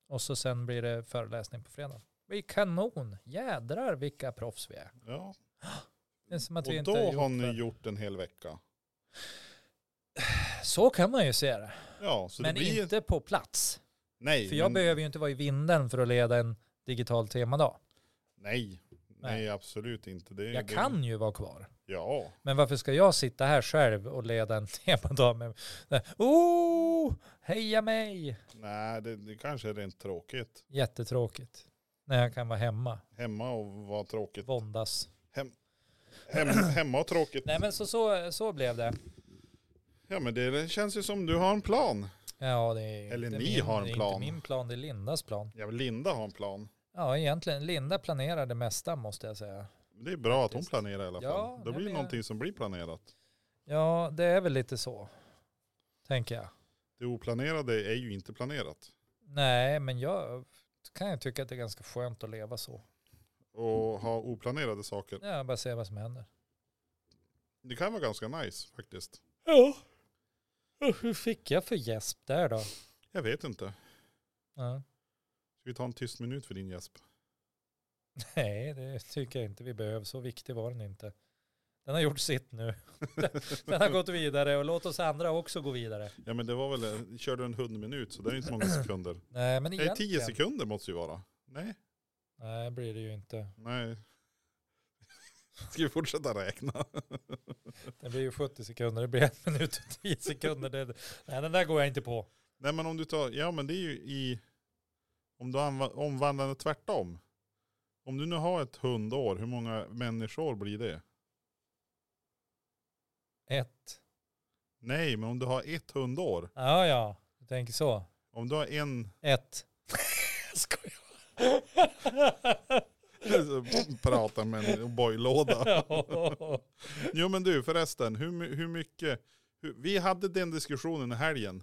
Och så sen blir det föreläsning på fredagen. Vi är kanon! Jädrar vilka proffs vi är.
Ja.
Det är som att vi
Och
inte har
då har
gjort
ni
det.
gjort en hel vecka.
Så kan man ju se det.
Ja, så
men
det blir...
inte på plats.
Nej,
För jag
men-
behöver ju inte vara i vinden för att leda en digital temadag.
nej, nej,
Nej.
absolut inte. Det,
Jag
det,
kan ju vara kvar.
Ja,
Men varför ska jag sitta här själv och leda en temadag med... Oh, heja mig!
nej, det, det kanske är rent tråkigt.
Jättetråkigt. När jag kan vara hemma.
Hemma och vara tråkigt.
Våndas.
Hem, hemma och tråkigt.
Nej men så, så, så blev det.
Ja men det känns ju som du har en plan.
Ja det är
Eller
inte
ni
min,
har en
det är
plan.
inte min plan, det är Lindas plan.
Ja, men Linda har en plan.
Ja egentligen, Linda planerar det mesta måste jag säga.
Det är bra att hon planerar i alla fall.
Ja,
det
ja,
blir
det-
någonting som blir planerat.
Ja det är väl lite så. Tänker jag.
Det oplanerade är ju inte planerat.
Nej men jag kan jag tycka att det är ganska skönt att leva så.
Och ha oplanerade saker.
Ja, bara se vad som händer.
Det kan vara ganska nice faktiskt.
Ja. Hur fick jag för gäsp där då?
Jag vet inte.
Ja.
Ska vi ta en tyst minut för din gäsp?
Nej, det tycker jag inte vi behöver. Så viktig var den inte. Den har gjort sitt nu. Den har gått vidare och låt oss andra också gå vidare.
Ja men det var väl, eh, körde en hundminut så det är inte många sekunder.
Nej, men
Nej
egentligen.
tio sekunder måste ju vara. Nej,
Nej, blir det ju inte.
nej. Ska vi fortsätta räkna?
Det blir ju 70 sekunder. Det blir en minut och 10 sekunder. Det, nej, den där går jag inte på.
Nej men om du tar, ja men det är ju i, om du anva- omvandlar det tvärtom. Om du nu har ett hundår, hur många människor blir det?
Ett.
Nej, men om du har ett hundår,
Ja, ja. Du tänker så.
om du har en
Ett. Jag
så pratar med en bojlåda.
skojar.
Jo men du förresten, hur, my- hur mycket, hur, vi hade den diskussionen i helgen.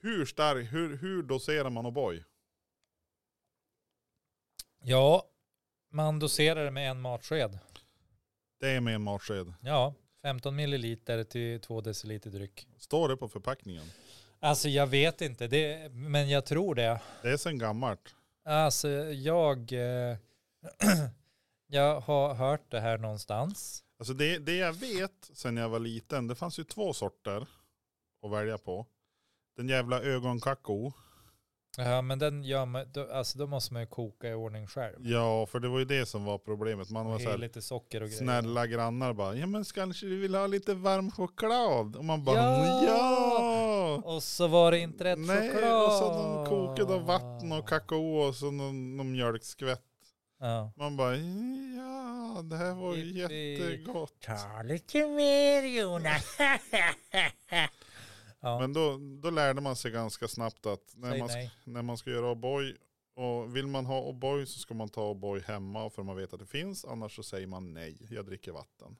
Hur stark, hur, hur doserar man O'boy?
Ja, man doserar det med en matsked.
Det är med en matsked.
Ja, 15 milliliter till 2 deciliter dryck.
Står det på förpackningen?
Alltså jag vet inte, det, men jag tror det.
Det är sen gammalt.
Alltså jag, eh, jag har hört det här någonstans.
Alltså det, det jag vet sen jag var liten, det fanns ju två sorter att välja på. Den jävla ögonkacko.
Ja, men den gör man, då, alltså då måste man ju koka i ordning själv.
Ja, för det var ju det som var problemet. Man var
Och
så
i
här,
lite socker och grejer.
snälla grannar bara, ja men kanske vi vill ha lite varm choklad? Och man bara,
Ja!
ja!
Och så var det inte rätt
Nej,
choklad.
och så de kokade av vatten och kakao och så någon, någon mjölkskvätt.
Ja.
Man bara, ja det här var ju
Jippi.
jättegott.
Ta lite mer Jonas. ja,
Men då, då lärde man sig ganska snabbt att när
säg
man,
nej.
när man ska göra O'boy. Och vill man ha O'boy så ska man ta O'boy hemma för man vet att det finns. Annars så säger man nej, jag dricker vatten.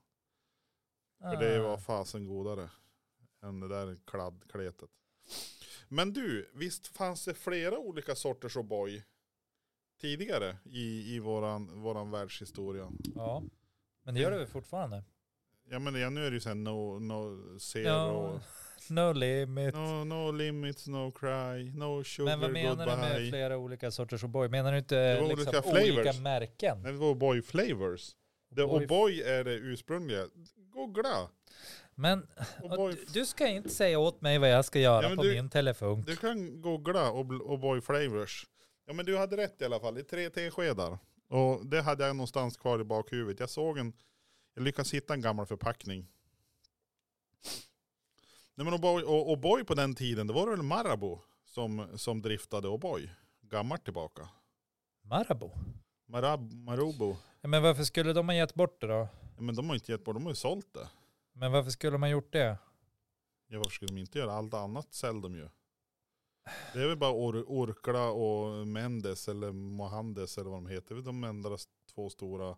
För
Ah.
det
Eh,
var fasen godare än det där kladdkletet. Men du, visst fanns det flera olika sorters O'boy tidigare i, i våran, våran världshistoria?
Ja, men det gör det väl fortfarande.
Ja men ja, nu är det ju såhär no, no zero,
No, no limit.
no, no limits, no cry, no sugar,
men vad menar
goodbye.
du med flera olika sorters O'boy? Menar du
Det
inte
var
liksom,
olika
olika,
flavors.
märken?
Nej, det var O'boy flavors. Det
O'boy-
O'boy är det ursprungliga. Googla!
Men
O'boy.
du- du ska inte säga åt mig vad jag ska göra
Ja, men
på
du-
min telefon.
Du kan googla Ob- O'boy flavors. Ja men du hade rätt i alla fall. Det är tre teskedar. Och det hade jag någonstans kvar i bakhuvudet. Jag såg en, jag lyckades hitta en gammal förpackning. Nej men O'boy, och O'boy på den tiden, det var väl Marabou som, som driftade O'boy. Gammalt tillbaka.
Marabou?
Marab, Marobo.
Ja, men varför skulle de ha gett bort det då?
Ja, Men de har inte gett bort, de har ju sålt det.
Men varför skulle man gjort det?
Ja, varför skulle de inte göra? Allt annat säljer de ju. Det är väl bara Or- Orkla och Mendes eller Mohandes eller vad de heter. Det är väl De enda s- två stora.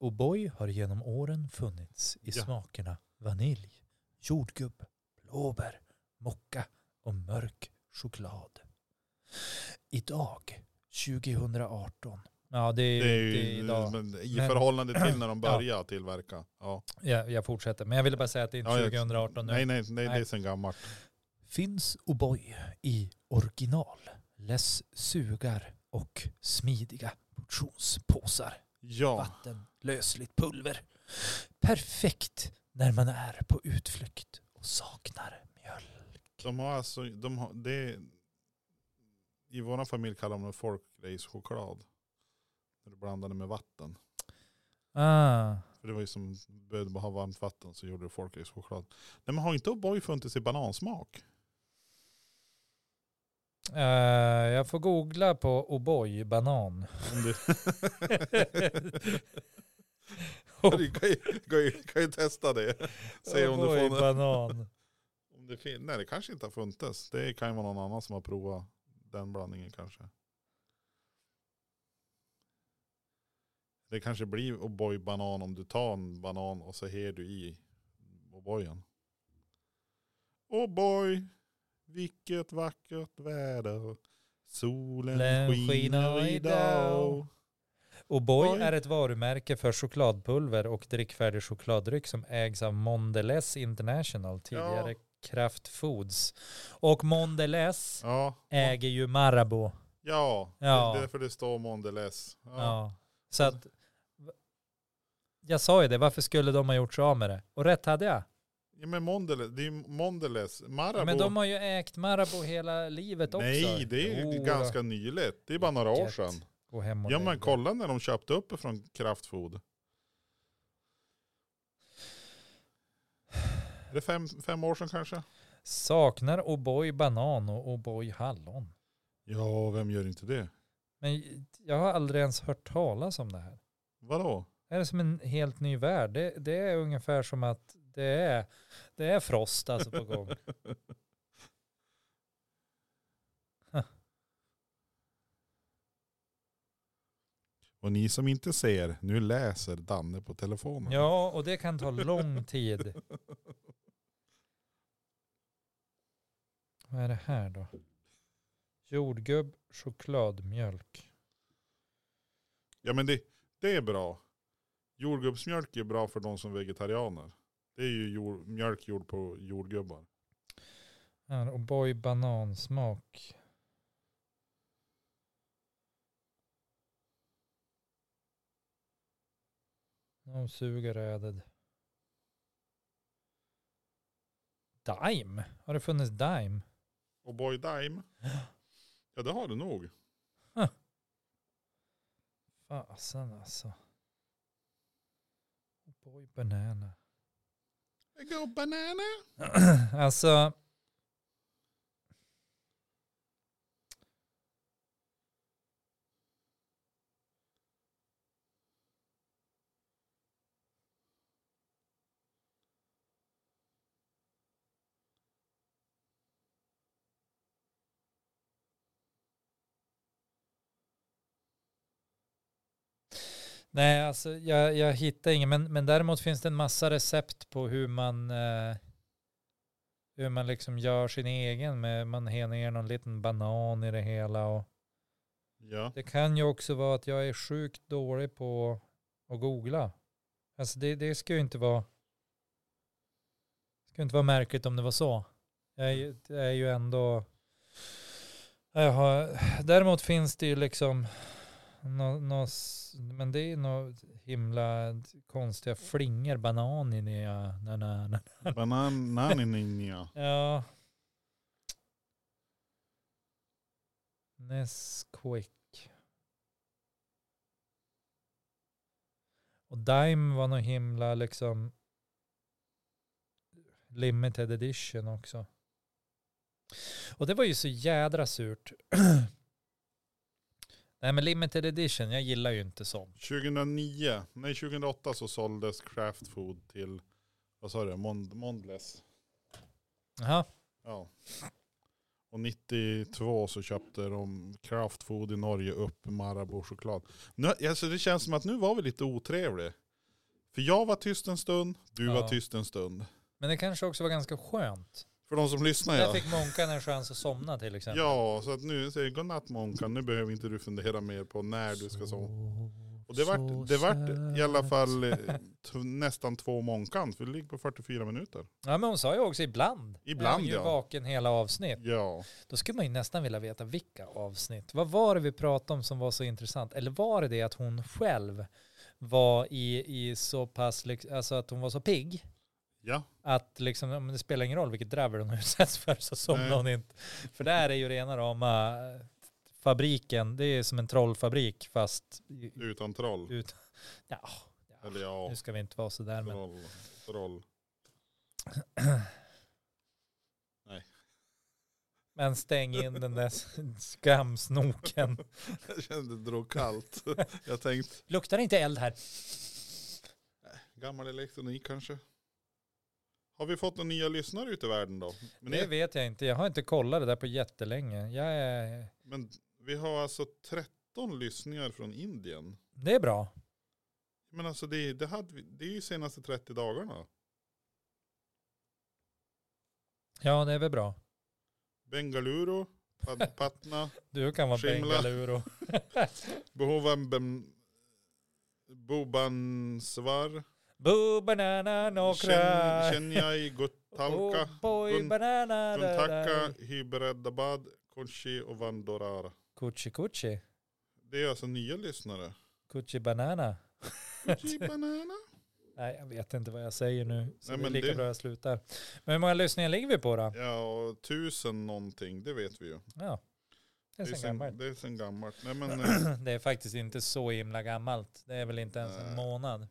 O'boy har genom åren funnits i
Ja.
smakerna vanilj, jordgubb, blåbär, mocka och mörk choklad. Idag, 2018. Ja, det är,
Det är
ju inte
ju eh,
idag.
men, i
Men-
förhållande till när de började tillverka. Ja.
Ja, jag fortsätter, men jag ville bara säga att det är inte
Ja, jag-
2018 nu.
Nej, nej, nej, det
Nej.
är sen gammalt.
Finns O'boy i original, less sugar och smidiga portionspåsar.
Ja,
vatten, lösligt pulver. Perfekt när man är på utflykt och saknar mjöl.
de har alltså, de har, det är, i vår familj kallar de det folkracechoklad. När du blandar det med vatten.
Ah.
För det var ju som, började bara ha varmt vatten så gjorde du folkracechoklad. Nej men har inte O'boy funnits i banansmak?
Eh, jag får googla på O'boy banan.
Om du... du kan, ju, kan, ju, kan ju testa det. Se om du
O'boy
får en,
banan.
om det fin- Nej det kanske inte har funnits. Det kan ju vara någon annan som har provat den blandningen kanske. Det kanske blir O'boy banan om du tar en banan och så ger du i O'boyen. O'boy, vilket vackert väder. Solen
Den
skiner
skiner
idag.
idag. O'boy
Oj.
är ett varumärke för chokladpulver och drickfärdig chokladdryck som ägs av Mondelez International, tidigare Kraft Foods. Och Mondelez
Ja,
äger ju Marabou.
ja.
Ja.
det är därför det står Mondelez.
Ja. Så att, jag sa ju det, varför skulle de ha gjort sig av med det? Och rätt hade jag.
Ja men Mondelez, det är ju Mondelez. Marabou.
Men de har ju ägt Marabou hela livet också.
Nej, det är ju
Jo då.
ganska nyligt. Det är bara några år
Vilket
sedan.
Gå hem och
Ja
lägg
men
dig.
kolla när de köpte upp från Kraftfood. Är det fem, fem år sedan kanske?
Saknar O'boy banan och O'boy hallon.
Ja, vem gör inte det?
Men jag har aldrig ens hört talas om det här.
Vadå?
Det är som en helt ny värld. Det, det är ungefär som att det är, det är frost alltså på gång.
Och ni som inte ser, nu läser Danne på telefonen.
Ja, och det kan ta lång tid. Vad är det här då? Jordgubb, chokladmjölk.
Ja men det, det är bra. Jordgubbsmjölk är bra för de som är vegetarianer. Det är ju jord, mjölk gjord på jordgubbar.
Här, O'boy banansmak. No sugar added. Dime? Har det funnits Dime?
Och Boy Dime? Ja det har du nog.
Fasen alltså. O'boy banana.
I go banana.
alltså. Nej, alltså jag, jag hittar ingen, men, men däremot finns det en massa recept på hur man eh, hur man liksom gör sin egen. Med, man hänger ner någon liten banan i det hela. Och
Ja.
det kan ju också vara att jag är sjukt dålig på att googla. Alltså det, det ska ju inte vara ska ju inte vara märkligt om det var så. Jag är, ju- det är ju ändå... Jag har, däremot finns det ju liksom nå, nå, s- men det är ju nå himla konstiga flingor, banan i det. ja, na, na, na.
Banananinja.
Ja. Nesquik. Och Dime var nog himla liksom limited edition också. Och det var ju så jädra surt. Nej men limited edition, jag gillar ju inte sånt.
2009, nej 2008 så såldes Kraft Food till, vad sa du, Mond Mondless.
Jaha,
Ja. Och 92 så köpte de Kraft Food i Norge upp Marabou choklad. Nu, alltså det känns som att nu var vi lite otrevliga. För jag var tyst en stund, du
Ja.
var tyst en stund.
men det kanske också var ganska skönt.
För de som lyssnar
Där
ja.
fick Monkan en chans att somna till exempel.
Ja, så att nu säger jag godnatt Månkan, nu behöver inte du fundera mer på när du ska sova. Och det vart, det vart i alla fall eh, t- nästan två Månkan, för det ligger på 44 minuter.
Ja men hon sa ju också ibland.
Ibland,
jag är ju
ja.
vaken hela avsnitt.
Ja.
Då skulle man ju nästan vilja veta vilka avsnitt. Vad var det vi pratade om som var så intressant? Eller var det det att hon själv var i, i så pass, lyx- alltså att hon var så pigg?
Ja,
Att liksom, ja, men det spelar ingen roll vilket dravel hon utsätts för så somnar
Nej.
hon inte. För där är ju rena rama eh, fabriken, det är som en trollfabrik fast i-
utan troll.
ut, ja,
Eller ja,
nu ska vi inte vara så där men
troll. troll.
Men stäng in den där skamsnoken.
Jag kände det drog kallt. Jag tänkte,
Luktar det inte eld här?
gammal elektronik kanske. Har vi fått några nya lyssnare ute i världen då? Men,
det vet jag inte. Jag har inte kollat det där på jättelänge. Jag är...
men vi har alltså 13 lyssningar från Indien.
Det är bra.
Men alltså det, det, hade vi, det är ju senaste 30 dagarna.
Ja, det är väl bra.
Bengaluru, Pat- Patna,
Du kan vara
Shimla.
Bengaluru.
Behovan Bem, Bobansvar,
Boo banana no
Chen-
cry.
Chenyai, Guttalka,
Oh boy
Gun-
banana. da, da.
Guntaka, Hybereddabad, Konchi och Vandorara.
Kuchi kuchi.
Det är alltså nya lyssnare.
Kuchi banana.
Gucci Banana.
Nej, jag vet inte vad jag säger nu. Så
Nej,
det är
men
lika
det-
bra jag slutar. Men hur många lyssningar ligger vi på då?
Ja, och tusen någonting, det vet vi ju.
Ja, det är sen gammalt.
det är sen gammalt. Nej, men, eh,
Det är faktiskt inte så himla gammalt. Det är väl inte ens en
Nej.
månad.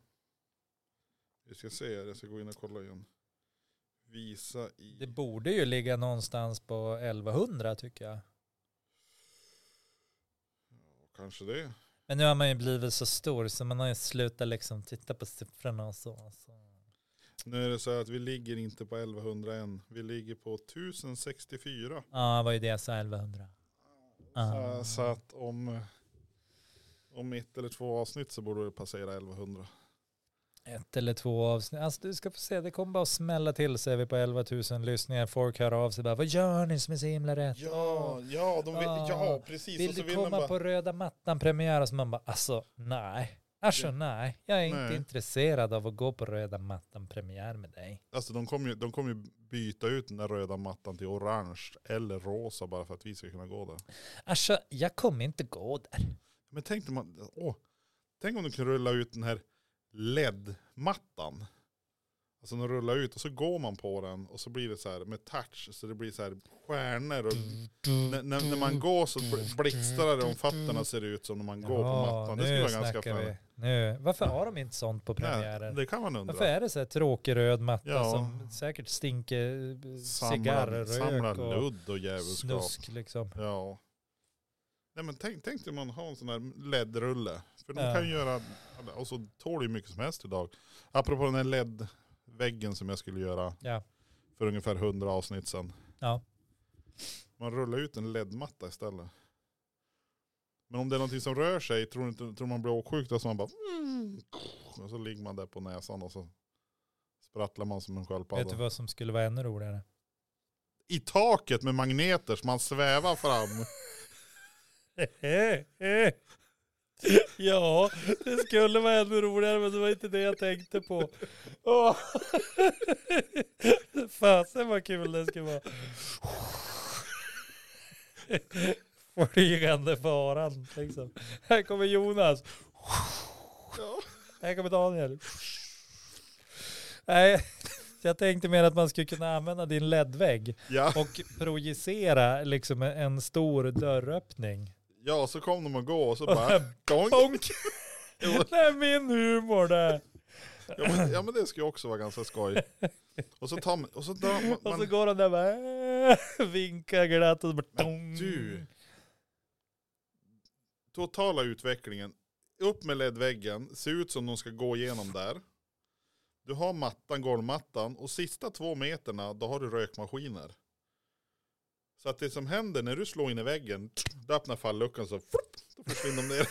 vi ska se, här, jag ska gå in och kolla igen. Visa i...
Det borde ju ligga någonstans på 1100 tycker jag.
Ja, kanske det.
Men nu har man ju blivit så stor så man har ju slutat liksom titta på siffrorna och så. så.
Nu är det så här att vi ligger inte på 1100 än. Vi ligger på 1064.
Ja, det var ju det jag sa, 1100. Ah.
Så, så att om, om ett eller två avsnitt så borde det passera 1100.
Ett eller två avsnitt. Alltså du ska få se, det kommer bara att smälla till så är vi på 11 000 lyssningar. Folk hör av sig bara, vad gör ni som är så himla rätt?
Ja, ja, de vill,
Ah.
ja precis.
Vill
Och så
du
vill de
komma
bara,
på röda mattan-premiär? Och så man bara, alltså nej. Alltså
Ja.
nej, jag är inte
Nej.
intresserad av att gå på röda mattan-premiär med dig.
Alltså de kommer ju, de kommer ju byta ut den där röda mattan till orange eller rosa bara för att vi ska kunna gå där.
Alltså, jag kommer inte gå där.
Men tänk, om man, åh, tänk om du kunde rulla ut den här LED-mattan. Alltså den rullar ut och så går man på den och så blir det så här med touch så det blir så här stjärnor. Och när, när, när man går så bl- blixtrar det om fötterna ser det ut som när man går på
Ja,
mattan.
nu
Det skulle vara ganska
snackar vi.
fränt.
Nu. Varför har de inte sånt på
Nej,
premiären?
Det kan man undra.
Varför är det så här tråkig röd matta
Ja.
som säkert stinker eh,
Samla, samla
cigarrrök och
ludd och djävulskap.
snusk liksom?
Ja. Nej men tänk, tänk dig man har en sån här LED-rulle. För de
Ja.
kan ju göra, och så tål det ju mycket som helst idag. Apropå den här LED-väggen som jag skulle göra
Ja.
för ungefär 100 avsnitt sedan.
Ja.
Man rullar ut en LED-matta istället. Men om det är någonting som rör sig, tror, inte, tror man blir åksjuk då? Så man bara... mm, Och så ligger man där på näsan och så sprattlar man som en
Vet du
sköldpadda.
vad som skulle vara ännu roligare?
I taket med magneter så man svävar fram.
ja, det skulle vara ännu roligare men det var inte det jag tänkte på. Åh. Fasen vad kul det skulle vara. Flygande faran liksom. Här kommer Jonas.
Ja.
Här kommer Daniel. Nej, jag tänkte mer att man skulle kunna använda din LED-vägg
Ja.
och projicera liksom en stor dörröppning.
Ja, så kom de och gå och så bara donk.
Bonk!
Jo.
Det är min humor det.
Ja men, ja men det ska ju också vara ganska skoj. Och så tar man, och så drar man,
Och så
man
går han där bara "Äh," vinkar glatt och så bara
Men du. totala utvecklingen. Upp med ledväggen, ser ut som de ska gå igenom där. Du har mattan, golvmattan och sista två meterna då har du rökmaskiner. Så att det som händer när du slår in i väggen, då öppnar falluckan så, frupp, då försvinner de ner.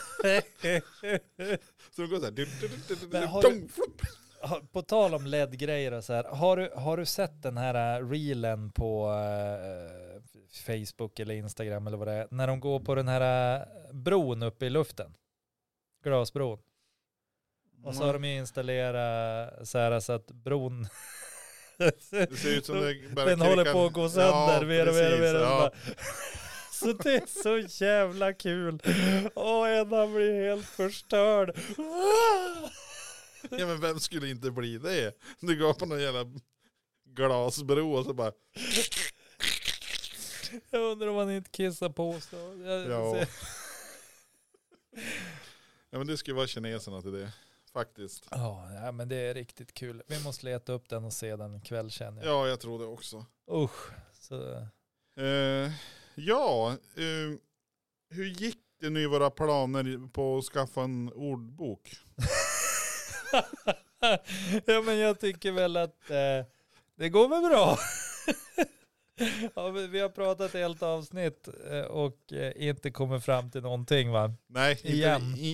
Så de går så här, du, du, du, du, du,
Men har
dong, frupp.
Ha- På tal om LED-grejer och så här. Har du, har du sett den här eh, reelen på eh, Facebook eller Instagram eller vad det är? När de går på den här eh, bron uppe i luften. Glasbron. Och så har
Mm.
de ju installerat så här så att bron...
Det ser ut som det bara
Den håller
krikar.
på att gå sönder. Ja, mer och mer och mer. och bara- Så det är så jävla kul. Och en han blir helt förstörd.
Ja men vem skulle inte bli det? Du går på någon jävla glasbro och så bara,
Jag undrar om han inte kissar på sig. Jag-
ja. ja men det skulle vara kineserna till det. Faktiskt.
Ja, ja, men det är riktigt kul. Vi måste leta upp den och se den ikväll känner jag.
Ja jag tror det också.
Usch. Så,
Eh, ja, eh, hur gick det nu i våra planer på att skaffa en ordbok?
ja, men jag tycker väl att eh, det går väl bra. ja, vi vi har pratat helt avsnitt eh, och eh, inte kommit fram till någonting va?
Nej, inte
Igen.
I,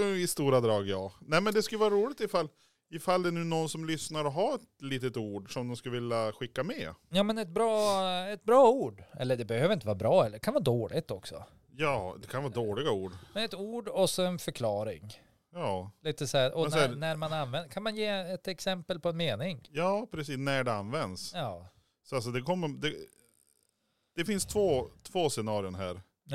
i, i stora drag ja. Nej men det skulle vara roligt ifall, ifall det nu är någon som lyssnar och har ett litet ord som de skulle vilja skicka med.
Ja men ett bra, ett bra ord. Eller det behöver inte vara bra eller det kan vara dåligt också.
Ja, det kan vara dåliga ord.
Men ett ord och så en förklaring.
Ja,
Lite så här, och
Men så här-
när, när man använder, kan man ge ett exempel på en mening?
ja precis, när det används.
Ja.
Så alltså det kommer, det, det finns två, två scenarion här.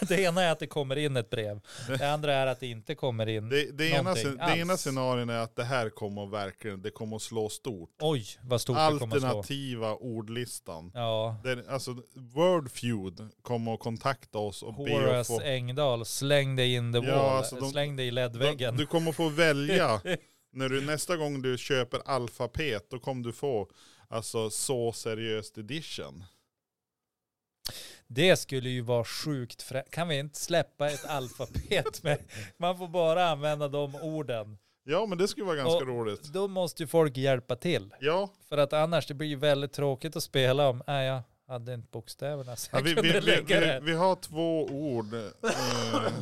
Mm. Det ena är att det kommer in ett brev. Det andra är att det inte kommer in.
Det, det, ena,
Någonting
scen- det ena
alls.
scenarion är att det här kommer att verkligen, det kommer att slå stort.
Oj, vad stort det kommer att slå.
Alternativa ordlistan.
Ja.
Den, alltså Wordfeud kommer att kontakta oss och be att
Horace
få...
Engdahl, släng dig in the
Ja,
wall,
alltså de-
släng dig i
Du,
ledväggen.
du kommer få välja. När du, nästa gång du köper alfabet, då kommer du få alltså så seriöst edition.
Det skulle ju vara sjukt frä... Kan vi inte släppa ett alfabet? Med? Man får bara använda de orden.
Ja men det skulle vara ganska
Och-
roligt.
Då måste ju folk hjälpa till.
Ja,
För att annars det blir ju väldigt tråkigt att spela om. Nej, jag hade inte bokstäverna så
ja
jag
vi, vi,
kunde
vi,
lägga
vi,
det.
vi har två ord. Eh,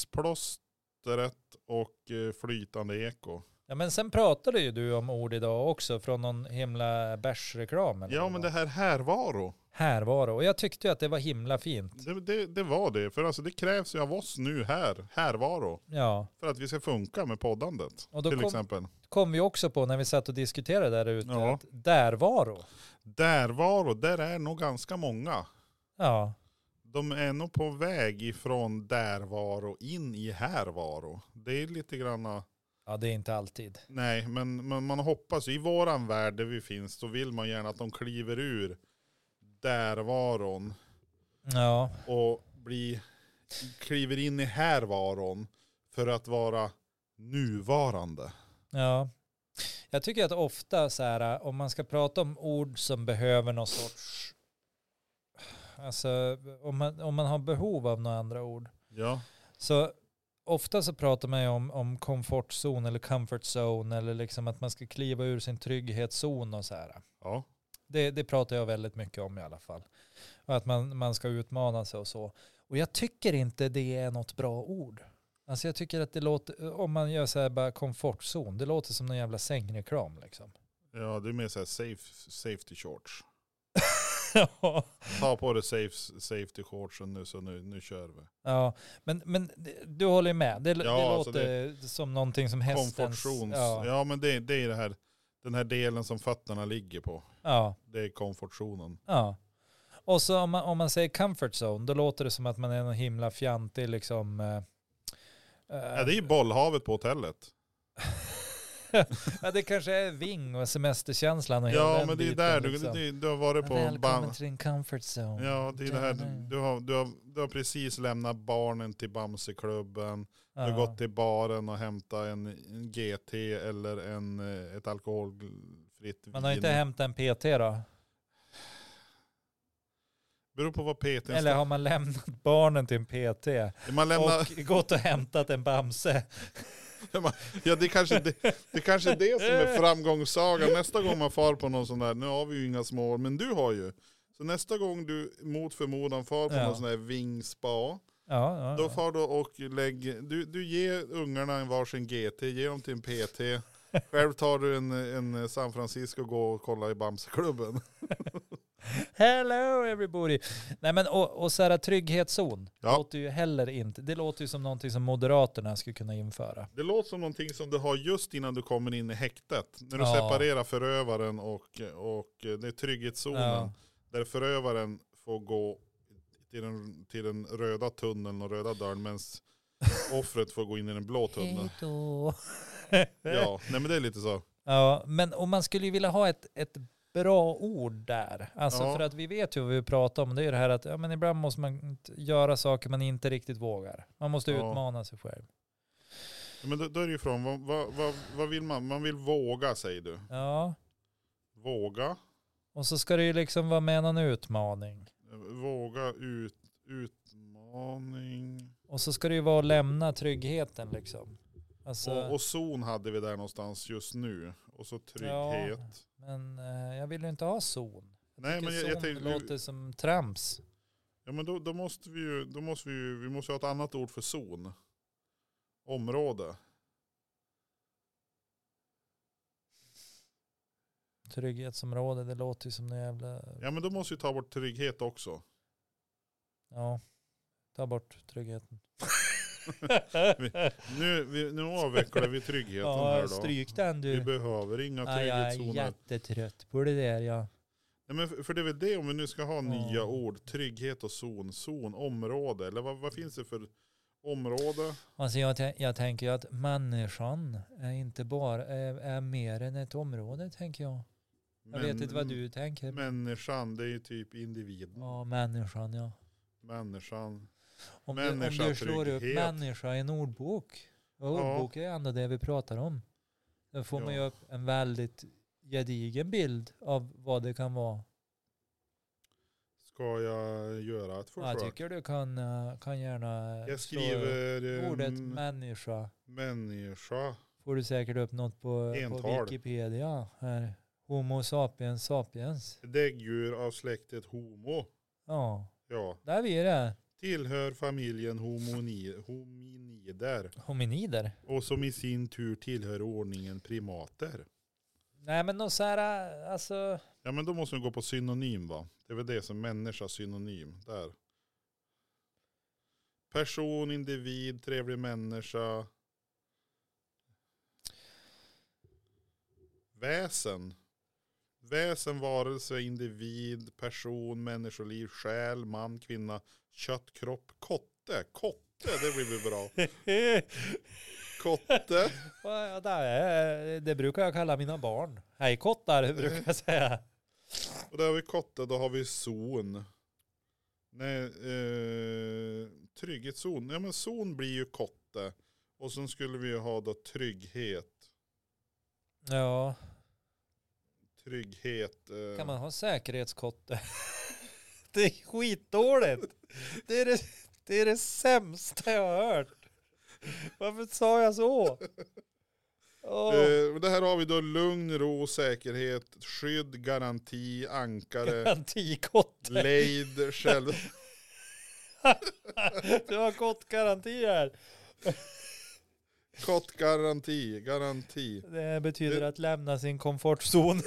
samtidsplåstret och eh, flytande eko.
Ja, men sen pratade ju du om ord idag också från någon himla bärsreklam. eller
Ja
vad
men
det
det här härvaro.
Härvaro. Och jag tyckte ju att det var himla fint.
Det, det, det var det. För alltså det krävs ju av oss nu här, härvaro.
Ja,
För att vi ska funka med poddandet.
och då
till
kom,
exempel.
kom vi också på när vi satt och diskuterade där ute
Ja.
att därvaro.
Därvaro, där är nog ganska många.
Ja,
De är nog på väg ifrån därvaro in i härvaro. Det är lite granna,
ja det är inte alltid.
nej men, men man hoppas i våran värld där vi finns så vill man gärna att de kliver ur därvaron
Ja,
och blir, kliver in i härvaron för att vara nuvarande.
ja. Jag tycker att ofta så här, om man ska prata om ord som behöver någon sorts... Alltså, om man, om man har behov av några andra ord.
Ja,
Så ofta så pratar man ju om, om komfortzon eller comfort zone eller liksom att man ska kliva ur sin trygghetszon och så här.
ja,
Det, det pratar jag väldigt mycket om i alla fall. Och att man, man ska utmana sig och så. Och jag tycker inte det är något bra ord. Alltså jag tycker att det låter, om man gör så här bara komfortzon, det låter som någon jävla sängreklam liksom.
ja det är mer så här safe, safety shorts.
ja.
Ta på dig safe, safety shortsen nu så nu, nu kör vi.
ja, men, men det- du håller med. Det, det
alltså
låter som någonting som hästens...
Komfortzons. Ja.
Ja, ja.
men det, det är det här, den här delen som fötterna ligger på.
ja.
Det är komfortzonen.
Ja. Och så om man, om man säger comfort zone, då låter det som att man är någon himla fjantig liksom. Eh,
Ja, det är ju bollhavet på hotellet.
ja, det kanske är ving och semesterkänslan och hela
Ja
den
men det är
biten,
där du,
liksom.
du, du har varit på
Välkommen
bam.
till din comfort zone.
Ja det är det här, du har, du, har, du har precis lämnat barnen till Bamseklubben. Du har
Ja.
gått till baren och hämtat en, en GT eller en, eh, ett alkoholfritt vin.
Man har inte hämtat en PT då?
Beror på vad PT
Eller
står.
har man lämnat barnen till en PT
Man lämnar,
och gått och hämtat en Bamse?
Ja det är kanske det, det är kanske det som är framgångssagan. Nästa gång man far på någon sån där, nu har vi ju inga små, men du har ju. Så nästa gång du mot förmodan far på
Ja.
någon sån där vingspa,
Ja, ja,
då
ja.
far du och lägger, du, du ger ungarna en varsin GT, ger dem till en PT. Själv tar du en, en San Francisco och går och kollar i Bamseklubben.
Hello everybody! Nej men och, och så här trygghetszon,
Ja.
låter ju heller inte, det låter ju som någonting som Moderaterna skulle kunna införa.
Det låter som någonting som du har just innan du kommer in i häktet. När du
Ja.
separerar förövaren och, och det är trygghetszonen.
Ja.
Där förövaren får gå till den, till den röda tunneln och röda dörren medan offret får gå in i den blå tunneln.
då. ja.
Ja, nej men det är lite så.
ja, men om man skulle ju vilja ha ett, ett bra ord där. Alltså
Ja.
för att vi vet ju vad vi pratar om. Det är ju det här att ja, men ibland måste man t- göra saker man inte riktigt vågar. Man måste
Ja.
utmana sig själv.
Men då, då är det ju från, vad, vad, vad, vad vill man? Man vill våga säger du.
Ja,
Våga.
Och så ska det ju liksom vara med någon utmaning.
Våga ut, utmaning.
Och så ska det ju vara att lämna tryggheten liksom. Alltså,
Och, och zon hade vi där någonstans just nu. Och så trygghet.
men eh, jag vill ju inte ha zon.
Nej, men jag,
zon
jag tänkte,
låter som trams.
ja men då, då måste vi ju, då måste vi ju, vi måste ju ha ett annat ord för zon. Område.
Trygghetsområde, det låter ju som någon jävla...
Ja men då måste vi ta bort trygghet också.
Ja, ta bort tryggheten.
Nu, vi, nu avvecklar vi tryggheten
ja,
här då.
stryk den
Vi
du.
behöver inga
Ja, jag är
trygghetszoner.
jättetrött på det där ja.
Nej, men för- för det är väl det om vi nu ska ha nya
Ja.
ord. Trygghet och zon, zon, område. Eller vad, vad finns det för område?
Alltså jag, tän- jag tänker ju att människan är inte bara, är, är mer än ett område tänker jag. Jag vet
Men-
inte vad du tänker.
Människan, det är ju typ individen.
ja, människan ja.
Människan.
Om du, om
Människa,
du slår upp
trygghet.
människa i en ordbok. Och
Ja.
ordbok är ändå det vi pratar om. Då får man ju
Ja.
upp en väldigt gedigen bild av vad det kan vara.
Ska jag göra ett
Ja, jag
försök?
tycker du kan, eh, kan gärna
jag
slå
skriver eh,
ordet
m-
människa.
människa.
Får du säkert upp något på, på
Ental.
Wikipedia. Här. Homo sapiens sapiens.
Däggdjur av släktet homo.
Ja,
Ja.
där vi är det.
Tillhör familjen homoni- hominider.
Hominider.
Och som i sin tur tillhör ordningen primater.
Nej men någon så här, eh, alltså.
Ja men då måste vi gå på synonym va? Det är väl det som människa synonym. Där. Person, individ, trevlig människa. Väsen. Väsen, varelse, individ, person, människoliv, själ, man, kvinna, kött, kropp, kotte. Kotte, det blir väl bra. Kotte.
Ja, det, är, det brukar jag kalla mina barn. Hej kottar brukar jag säga.
Och där har vi kotte, då har vi zon. Nej, eh, trygghetszon. Ja men zon blir ju kotte. Och sen skulle vi ju ha då trygghet.
Ja,
Trygghet. Eh,
kan man ha säkerhetskotte? Det är skitdåligt. Det är det, det är det sämsta jag har hört. Varför sa jag så? Åh.
eh, men det här har vi då lugn, ro, säkerhet, skydd, garanti, ankare,
Garantikotte.
lejd, själv.
Du har kottgaranti här.
Kottgaranti, garanti.
Det betyder att lämna sin komfortzon.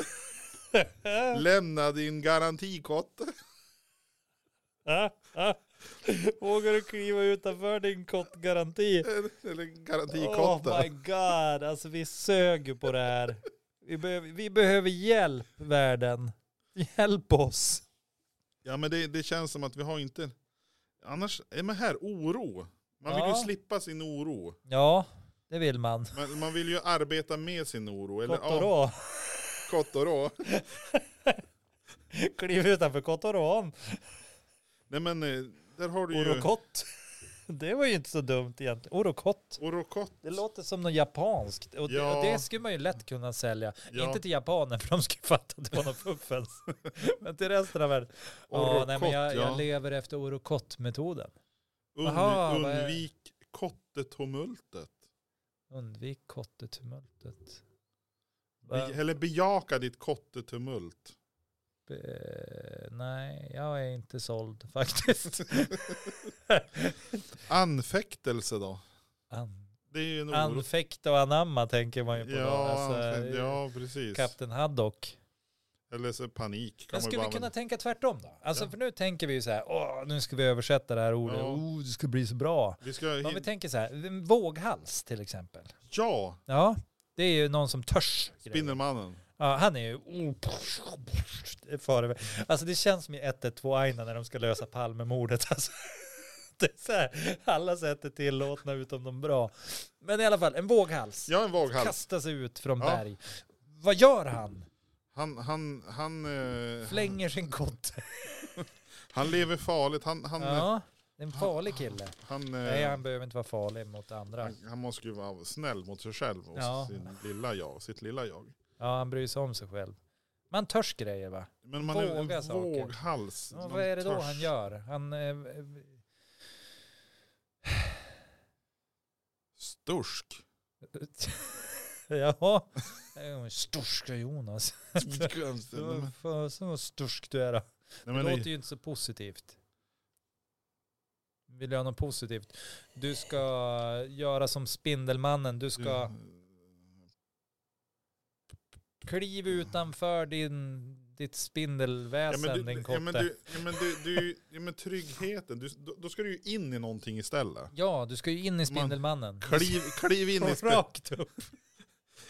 Lämna din garantikotte.
Ah, Vågar du kliva utanför din kottgaranti?
Eller
Oh my
garantikotte.
god, alltså vi sög ju på det här. Vi behöver, vi behöver hjälp världen. Hjälp oss.
Ja men det, det känns som att vi har inte. Annars, ja, men här, oro. Man vill
Ja.
ju slippa sin oro.
Ja, det vill man.
Men man vill ju arbeta med sin oro. Eller, Ja,
Kotorå.
Kotorå.
Kliv utanför Kotorån.
Nej men eh, där har du ju
Orokott. Det var ju inte så dumt egentligen. Orokott.
orokott.
Det låter som något japanskt. Och det,
Ja.
och det skulle man ju lätt kunna sälja.
Ja.
Inte till japaner för de skulle fatta att det var något fuffens. men till resten av världen. Ja,
Orokott,
nej, men jag, jag
ja.
lever efter Orokott-metoden.
Undvi-
Aha, vad är-
undvik kottetumultet.
Undvik kottetumultet.
Be,
Va?
eller bejaka ditt kottetumult.
Eh, Nej, jag är inte såld faktiskt.
Anfäktelse då?
An,
Det är ju en oro.
anfäkta och anamma tänker man ju på. då.
ja,
Alltså,
anfäkt- ja, precis.
Kapten Haddock.
Eller så panik. Kan
Men
man ju
skulle vi
bara
kunna
använda.
tänka tvärtom då? Alltså
Ja.
för nu tänker vi ju så här, åh, nu ska vi översätta det här ordet,
Ja.
oh, det ska bli så bra.
vi ska
Men om vi
hin-
tänker så här, en våghals till exempel.
Ja,
Ja, det är ju någon som törs. grejer.
Spindelmannen.
Ja, han är ju... Det far iväg. Alltså det känns som i 112 Aina när de ska lösa Palmemordet. Alltså, det är så här, alla sätt är tillåtna utom de bra. Men i alla fall, en våghals.
Ja, en våghals.
Kastar sig ut från
Ja.
berg. Vad gör han?
Han, han, han, eh, han,
Flänger sin kotte.
han lever farligt. Han, han,
Ja, det är en farlig kille.
han, eh,
Nej, han behöver inte vara farlig mot andra.
Han, han måste ju vara snäll mot sig själv och
Ja.
sin lilla jag, sitt lilla jag.
Ja, han bryr sig om sig själv. Man törs grejer va?
Men man är
Våga
en
saker.
våghals.
Ja,
Man
vad är det då
törs.
han gör? Han... Eh, eh,
Stursk.
Jaha. Eh, Storska Jonas.
Nej,
Fasen vad storsk du är då.
men-
Det
nej,
låter ju inte så positivt. Vill du ha något positivt? Du ska göra som Spindelmannen. Du ska...
Mm.
Kliv utanför din, ditt
Ja,
spindelväsen,
men, du,
din
ja,
kotte.
men, du, ja, men, du, du, ja, men tryggheten, du, då, då ska du ju in i någonting istället.
ska ju in i Spindelmannen.
Kliv, kliv, in, i
Från
spe,
rakt upp.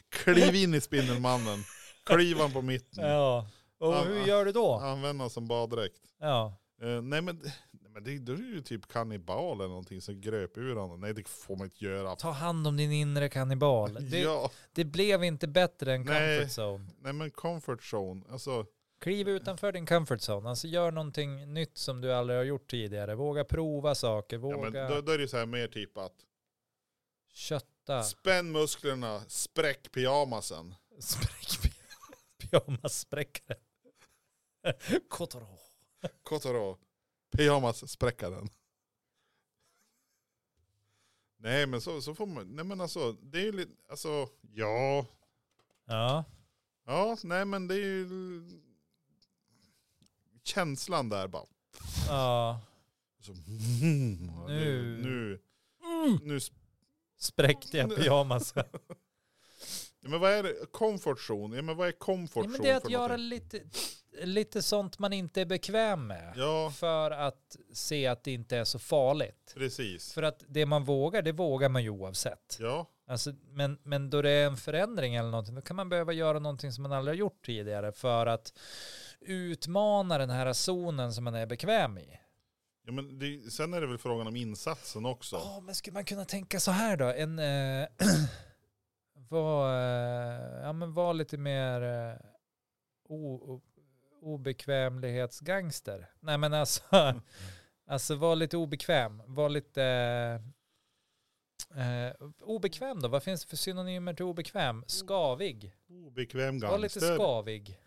kliv in i Spindelmannen. Kliv han på mitten.
Ja. Och
Ja,
hur
ja.
gör du då?
Använd honom som baddräkt.
Ja.
Eh, nej men, nej, men det, då är det ju typ kannibal eller någonting som gröp ur honom. Nej det får man inte göra.
Ta hand om din inre kannibal. Det,
Ja,
det blev inte bättre än
Nej.
comfort zone.
nej men comfort zone. Alltså,
Kliv utanför din comfort zone. Alltså gör någonting nytt som du aldrig har gjort tidigare. Våga prova saker.
ja,
Våga
men då, då är det ju så här mer typ att
kötta.
spänn musklerna, spräck pyjamasen.
Spräck pyjamaspräckare. Kotoro.
Kotoro, pyjamas, spräcka den. Nej men så, så får man, nej men alltså, det är ju lite, alltså, ja,
Ja.
ja, nej men det är ju känslan där bara.
ja.
Så, mm,
Nu.
nu, nu, nu
Spräckte jag pyjamasen.
Ja, men vad är det? Comfort zone? Ja, men vad är comfort
Ja,
zone?
men det är att
för
göra
någonting?
lite, lite sånt man inte är bekväm med.
Ja,
För att se att det inte är så farligt.
precis.
För att det man vågar, det vågar man ju oavsett.
Ja,
Alltså, men, men då det är en förändring eller någonting, då kan man behöva göra någonting som man aldrig har gjort tidigare för att utmana den här zonen som man är bekväm i.
ja men det, sen är det väl frågan om insatsen också.
Ja, men skulle man kunna tänka så här då? En, eh, var, eh, ja, men var lite mer eh, o, o, obekvämlighetsgangster. Nej, men alltså, alltså var lite obekväm. Var lite eh, eh, obekväm då. Vad finns det för synonymer till obekväm? Skavig.
Obekväm
Var lite
gangster
skavig.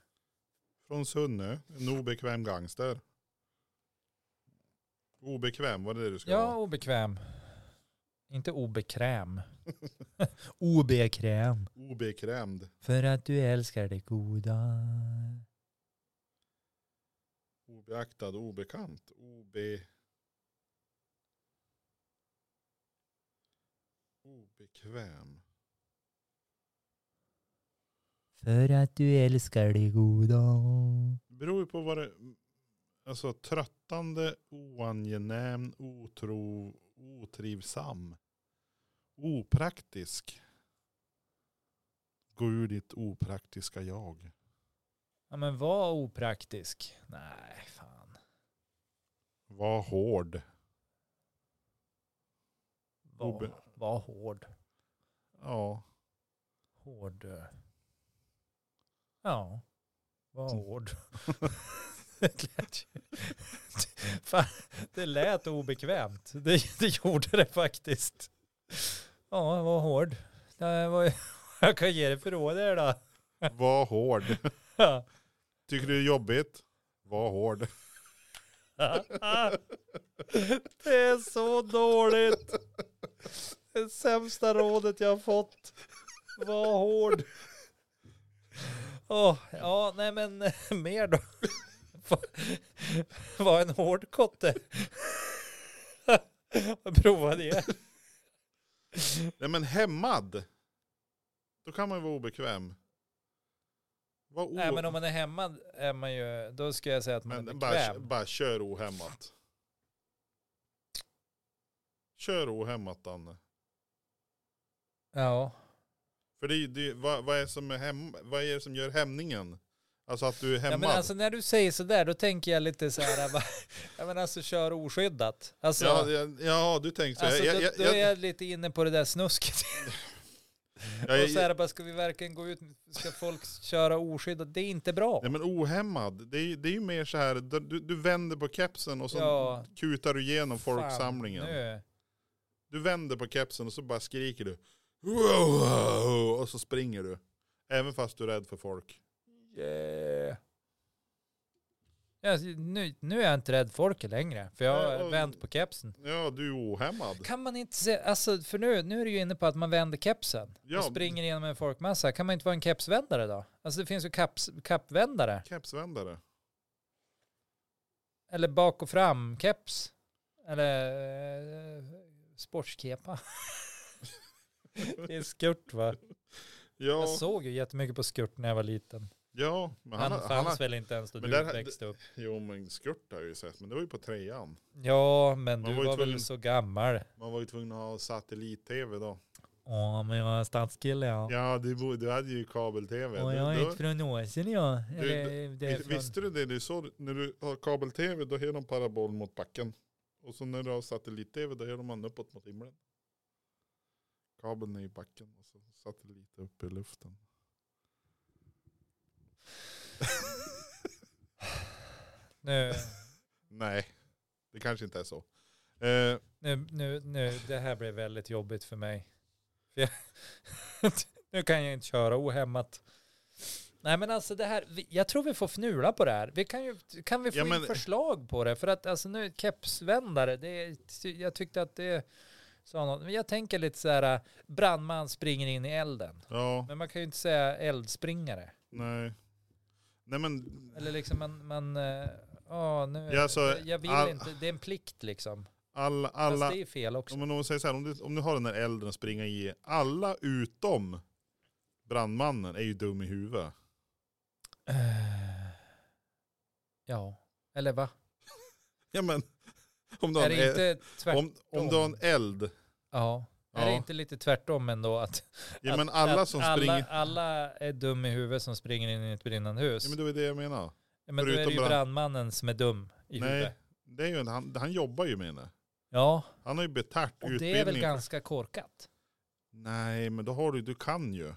från Sunne. En obekväm gangster. Obekväm, vad är det du ska
Ja,
vara?
obekväm. Inte obekräm. obekräm.
Obekvämd.
För att du älskar det goda.
Obeaktad, obekant. Ob... Obekväm.
För att du älskar det goda.
beror ju på vad det... Alltså tröttande, oangenäm, otro, otrivsam, opraktisk. Gå ur ditt opraktiska jag.
Ja men var opraktisk. Nej, fan.
Var hård.
Var,
Obe-
var hård.
Ja,
Hård. eh. Ja, var hård. det, lät ju, fan, det lät obekvämt. Det, det gjorde det faktiskt. Ja, var hård. Det var, jag kan ge dig för råd där då.
var hård.
Ja.
Tycker du det är jobbigt? Var hård.
Det är så dåligt. Det sämsta rådet jag har fått. Var hård. Åh, ja, nej men eh, mer då. Var en hård kotte. Prova det.
Nej men hämmad. Då kan man ju vara obekväm. Var o-
Nej men om man är hemma är man ju, då ska jag säga att man är
Men bara,
bekväm.
bara kör ohämmat. Kör ohämmat Danne.
Ja.
För det, är ju- det, är ju- vad, vad, är som är hem, vad är det som gör hämningen? Alltså att du är
Ja,
hämmad.
men alltså när du säger sådär då tänker jag lite så här, va- ja, men alltså kör oskyddat. Alltså,
ja, ja, ja, du tänkte så.
Alltså,
jag,
då,
jag,
då
jag,
är
jag,
jag lite inne på det där snusket.
jag,
och så är det bara, ska vi verkligen gå ut? Ska folk köra oskyddat? Det är inte bra.
nej, men ohämmad, det är, ju- det är ju mer så här, du, du- du vänder på kepsen och så
Ja.
kutar du igenom
Fan,
folksamlingen.
nu.
Du vänder på kepsen och så bara skriker du. "Wow!" Och så springer du. Även fast du är rädd för folk.
Yeah. Ja, Alltså, nu, nu är jag inte rädd folk längre, för jag
Nej,
har
och-
vänt på kepsen.
Ja, du är ohämmad.
Kan man inte se, alltså för nu, nu är du ju inne på att man vänder kepsen
Ja.
och springer igenom en folkmassa. Kan man inte vara en kepsvändare då? Alltså det finns ju kaps, kappvändare,
Kepsvändare.
eller bak och fram keps, eller eh, sportskepa. det är skurt va?
Ja,
Jag såg ju jättemycket på skurt när jag var liten.
ja men han,
Han,
har- han,
fanns
har-
väl inte ens då
men
du
där-
växte upp.
Jo, men skurt har jag ju sett, men det var ju på trean.
Ja, men
Man
du
var ju
var väl
tvungen-
så gammal.
Man var ju tvungen att ha satellit-tv då.
Ja, men jag var stadskille ja.
Ja, du, bo- du hade ju kabel-tv.
Och
Du-
jag
då-
gick från Åsele ja.
Du-
Eller, det är
Vis- Visste du det? det är så, när du har kabel-tv då ger de parabol mot backen. Och så när du har satellit-tv då ger de den uppåt mot himlen. Kabeln är i backen och så satellit upp i luften.
Nu,
Nej, det kanske inte är så. Eh,
nu, nu, nu, det här blev väldigt jobbigt för mig. För jag, nu kan jag inte köra ohämmat. Nej men alltså det här, vi- jag tror vi får fnula på det här. Vi kan, ju, kan vi få
Ja,
in
men-
förslag på det? För att alltså nu, kepsvändare, det, är- jag tyckte att det sa något. Men jag tänker lite så här, äh, brandman springer in i elden.
ja,
Men man kan ju inte säga eldspringare.
nej. Nej men,
Eller liksom man, man eh, ja nu,
Ja, alltså,
jag- jag vill
all-
inte, det är en plikt liksom.
all,
Fast
alla,
det är fel också.
om man säger så här, om du, om du har den där elden att springa i, alla utom brandmannen är ju dum i huvudet.
Eh, Ja, eller va?
Ja men, om du har
Är
en,
det
eld-
inte tvärtom?
om, om du har en eld,
Ja. Är
Ja.
det inte lite tvärtom ändå? Att,
ja men
att-
alla
att
som
alla,
springer
Alla är dum i huvudet som springer in i ett brinnande hus.
Ja, men
men
det var ju det jag menade.
då är det
förutom
ju
brand-
brandmannen som är dum i
Nej.
huvudet.
Det är ju en, han, han jobbar ju med det.
Ja,
Han har ju betärt
och
utbildning.
det är väl ganska korkat.
Nej, men då har du, du kan ju.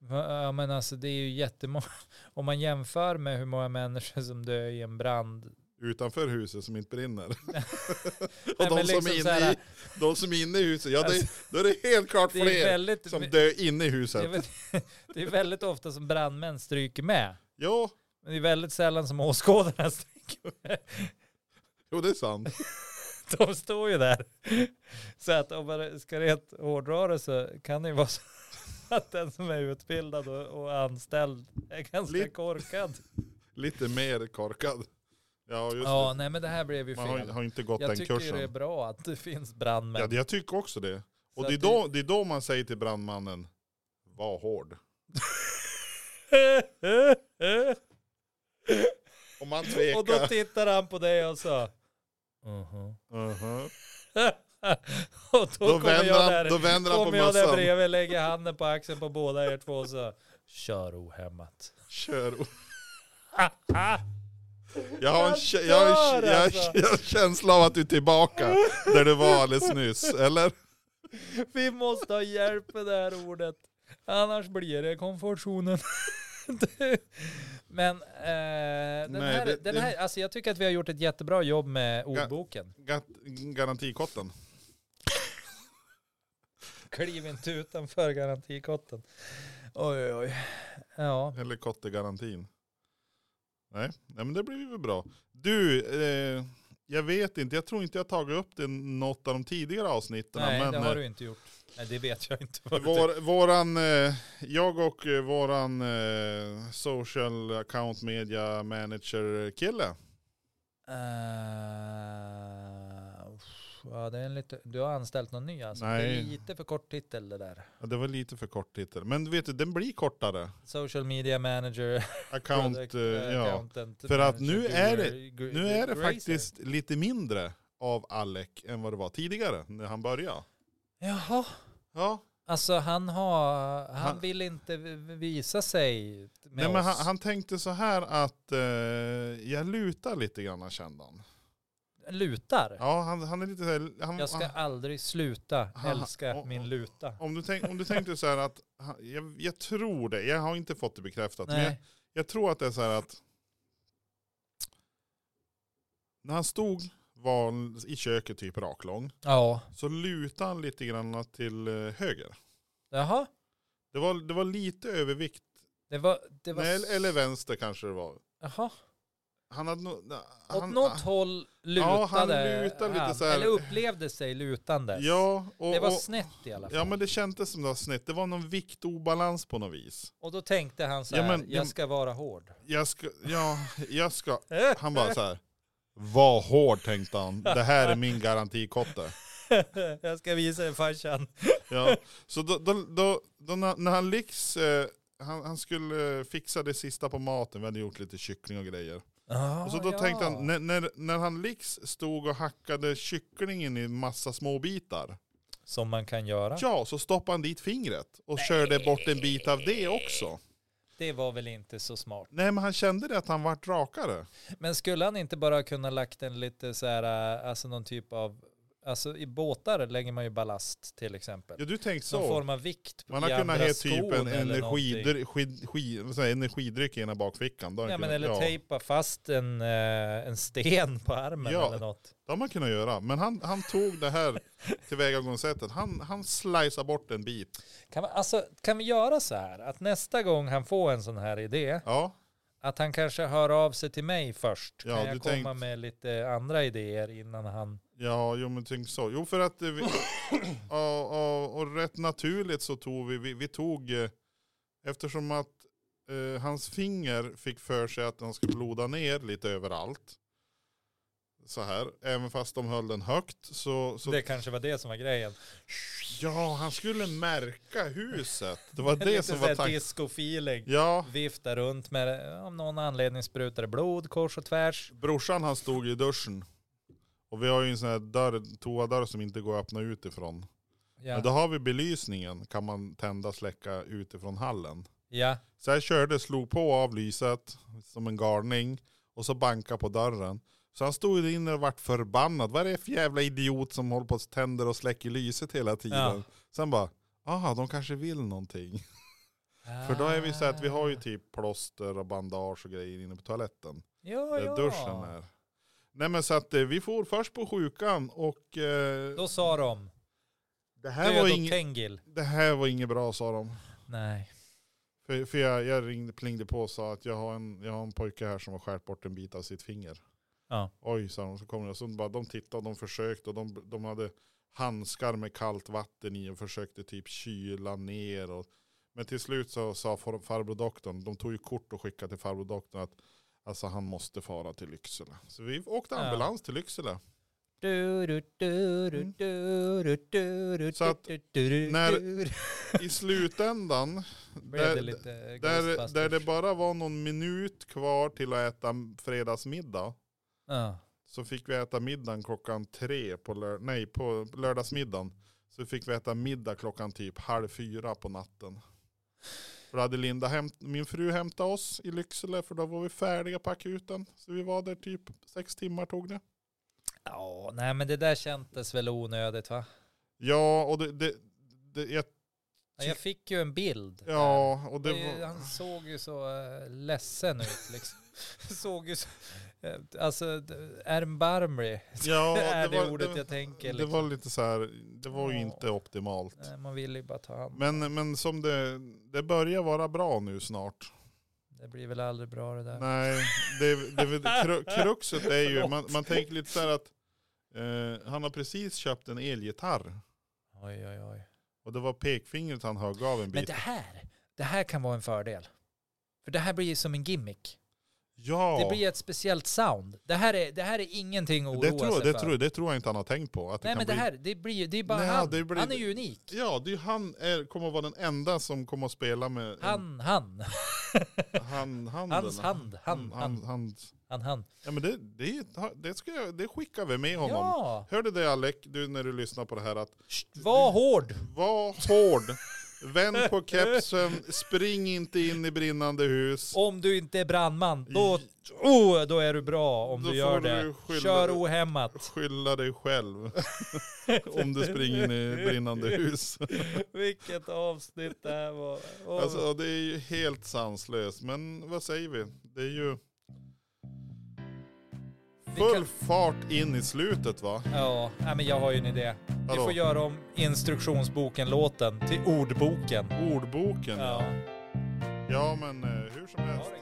Va- Ja, men alltså det är ju jättemånga. Om man jämför med hur många människor som dör i en brand.
Utanför huset som inte brinner. och
Nej,
de,
men
som
liksom
är
så
inne
här, Alltså,
i, de som är inne i huset, ja det, då är det helt klart
det är
fler
väldigt,
som dör inne i
det, är
huset.
väl, det är väldigt ofta som brandmän stryker med.
Ja,
Men det är väldigt sällan som åskådarna stryker med.
jo det är sant.
De står ju där. Så att om man ska rent hårdra det så kan det ju vara så att den som är utbildad och, och anställd är ganska
Lite-
korkad.
Lite mer korkad. Ja, just
Ja, nej men det här blev ju
det. Man har,
fel.
har inte gått
Jag
den
tycker ju det är
kursen.
bra att det finns
Ja,
brandmän.
det- jag tycker också det.
Så
Och det är,
att
då, det är då man säger till brandmannen, var hård. Om man tvekar.
och då tittar han på dig och så. Mhm.
Mhm.
och då,
Då
kommer
vänder
jag
han-
där,
då vänder han på
kommer jag där
mössan.
bredvid, lägger handen på axeln på båda er två och så kör ohämmat.
Kör
Ah,
Jag har, en,
Jag
kä- jag, har en,
dör,
kä- jag, har en, kä-
alltså.
jag har en känsla av att du är tillbaka där du var alldeles nyss, eller?
vi måste ha hjälp med det här ordet. Annars blir det konfusionen. Men eh, den,
Nej,
här,
det-
den
det-
här, alltså jag tycker att vi har gjort ett jättebra jobb med
Ja.
ordboken.
Gat- Garantikotten.
Kliv inte utanför garantikotten. Oj, oj, oj. Ja.
Eller kottegarantin. Nej, nej men det blir väl bra. Du, eh, jag vet inte, jag tror inte jag har tagit upp det i något av de tidigare avsnitten.
Nej,
men,
det har
eh,
du inte gjort. Nej, det vet jag inte. vad du tycker.
Vår, våran, eh, jag och eh, våran eh, social account media manager kille.
Eh, uff, ja, det är en lite, du har anställt någon ny alltså? Det är
Nej.
lite för kort titel det där.
Ja, det var lite för kort titel. Men vet du, den blir kortare.
Social media manager,
Account,
product,
eh,
eh,
ja.
accountant.
För att nu
manager,
är det-
gr- gr-
Nu är det
grazer.
faktiskt lite mindre av Alec än vad det var tidigare när han började.
Jaha,
Ja.
alltså han har, han,
Han-
vill inte v- visa sig med
Nej,
oss.
men han, han tänkte så här att eh, jag lutar lite grann kände han.
Lutar.
Ja, han, han är lite så här, han,
Jag ska
han,
aldrig sluta
Han-
älska
och-
min
och-
luta.
om, du tänk, om du tänkte så här att, han, jag, jag tror det, jag har inte fått det bekräftat, men jag,
Nej.
jag tror att det är så här att när han stod var han i köket typ raklång,
Ja.
så lutade han lite grann till eh, höger.
Jaha.
Det var, det var lite övervikt
Det var... Det var
Nej, eller- eller vänster kanske det var.
Jaha.
Han hade nog...
Åt
han-
något håll lutade
Ja, han lutade lite
han.
så här.
Eller upplevde sig lutandes.
Ja, och,
det var
och,
snett i alla fall.
ja, men det kändes som det var snett. Det var någon viktobalans på något vis.
Och då tänkte han så här,
Ja, men-
jag ska vara hård.
Jag ska, ja, jag ska... Han bara så här. Var hård tänkte han. Det här är min garantikotte.
jag ska visa dig farsan.
Ja, så då, då, då, då när när han lyckas, eh, han, han skulle eh, fixa det sista på maten, vi hade gjort lite kyckling och grejer.
Ah,
och så då
ja.
tänkte han, när, när, när han lyckas stod och hackade kycklingen i massa små bitar,
Som man kan göra.
ja så stoppade han dit fingret och körde bort en bit av det också.
Det var väl inte så smart.
Nej men han kände det att han vart rakare.
Men skulle han inte bara kunna lagt en lite så här, äh, alltså någon typ av, alltså i båtar lägger man ju ballast till exempel.
Ja du tänker
Någon
så.
form av vikt
Man har
i
kunnat
andra
ha typ
skon
en
eller någonting.
energidryck, skid, skid, vad säger jag, energidryck i ena bakfickan. Då har han
Ja, men
kunnat-
eller tejpa fast en, eh, en sten på armen
Ja.
eller något.
Det har man kunnat göra. Men han, han tog det här tillvägagångssättet. Han, han slicear bort en bit.
Kan, man, alltså, kan vi göra så här att nästa gång han får en sån här idé,
Ja,
att han kanske hör av sig till mig först.
Ja,
kan
du
jag komma
tänkt-
med lite andra idéer innan han...
ja jo men tänk så. Jo för att eh, vi, och, och, och rätt naturligt så tog vi, vi, vi tog, eh, eftersom att eh, hans finger fick för sig att han skulle bloda ner lite överallt. Så här, även fast de höll den högt så, så
Det kanske var det som var grejen.
ja han skulle märka huset. Det var det
Lite
som
så
var
här
tanken.
disco-feeling.
Ja,
Vifta runt med det. Om någon anledning sprutar det blod kors och tvärs.
Brorsan han stod i duschen. Och vi har ju en sån här dörr, toadörr som inte går att öppna utifrån.
Ja.
Men då har vi belysningen, kan man tända och släcka utifrån hallen.
ja.
Så jag körde, slog på av lyset som en galning och så banka på dörren. Så han stod ju inne och vart förbannad. Vad är det för jävla idiot som håller på och tänder och släcker lyset hela tiden?
Ja.
Sen bara, aha de kanske vill någonting. För då är vi så här att vi har ju typ plåster och bandage och grejer inne på toaletten
ja,
där
ja.
eh, duschen är. Nej men så att eh, vi for först på sjukan och eh,
Då sa de,
det, här
död
var
och
inget,
Tengil.
det här var inget bra sa de.
Nej.
För, för jag, jag ringde, plingde på och sa att jag har, en, jag har en pojke här som har skärt bort en bit av sitt finger.
Ja.
Oj sa de, så kom de. Så bara, de tittade och de försökte och de, de hade handskar med kallt vatten i och försökte typ kyla ner. Och, men till slut så sa far- farbror doktorn, de tog ju kort och skickade till farbror doktorn att alltså, han måste fara till Lycksele. Så vi åkte
Ja.
ambulans till Lycksele.
Du, du, du, du, du, du, du, du,
Så att
du, du, du,
när-
du.
i slutändan,
Blev det
där-
lite
där,
Ghostbusters?
där det bara var någon minut kvar till att äta fredagsmiddag,
Ja.
så fick vi äta middagen klockan tre på, lör- nej, på lördagsmiddagen. Så fick vi äta middag klockan typ halv fyra på natten. För då hade Linda hämt, min fru hämtat oss i Lycksele för då var vi färdiga på akuten. Så vi var där typ sex timmar tog det.
ja, nej men det där kändes väl onödigt va?
Ja, och det, det, det jag,
Ja, Jag fick ju en bild.
ja, och det
Det är ju-
var,
Han såg ju så eh, ledsen ut liksom. såg ju så, eh, alltså d- erbarmlig
ja,
är det,
var-
ordet jag tänker.
Det
Liksom.
var lite så här, det var ju
Ja.
inte optimalt.
Nej, eh, man vill ju bara ta hand om
Men, men som det, det börjar vara bra nu snart.
Det blir väl aldrig bra det där.
Nej, det, det, kru, kruxet är ju, man, man tänker lite så här att eh, han har precis köpt en elgitarr.
Oj, oj, oj.
Och det var pekfingret han högg av en
Men
bit.
det här, det här kan vara en fördel. För det här blir ju som en gimmick.
Ja,
Det blir ett speciellt sound. Det här är, det här är ingenting att oroa
det tror,
sig
det,
för.
tror, det tror jag inte han har tänkt på. Att det
Nej
kan
men det
bli,
här, det blir ju, det är bara
Nej,
han.
det blir-
Han är ju unik.
Ja, det är, ju han är, kommer att vara den enda som kommer att spela med en-
Han, han,
han, handen.
hans hand, han,
Han, han,
han,
han.
han, han.
Ja, men det, det, det, ska, jag- det skickar vi med honom.
Ja,
Hörde det Alec, du när du lyssnar på det här att
Sst, var hård.
var hård, vänd på kepsen, spring inte in i brinnande hus.
Om du inte är brandman, då, oh, då är du bra om
Då
du gör
får du
det.
skylla
Kör
dig.
ohämmat.
Skylla dig själv om du springer in i brinnande hus.
Vilket avsnitt det här var. Åh.
Alltså det är ju helt sanslöst, men vad säger vi? Det är ju
Vi
full
kan-
fart in i slutet va?
Ja, nej, men jag har ju en idé. Vi
Vadå?
får göra om instruktionsboken-låten till ordboken.
Ordboken.
Ja.
Ja men eh, hur som helst.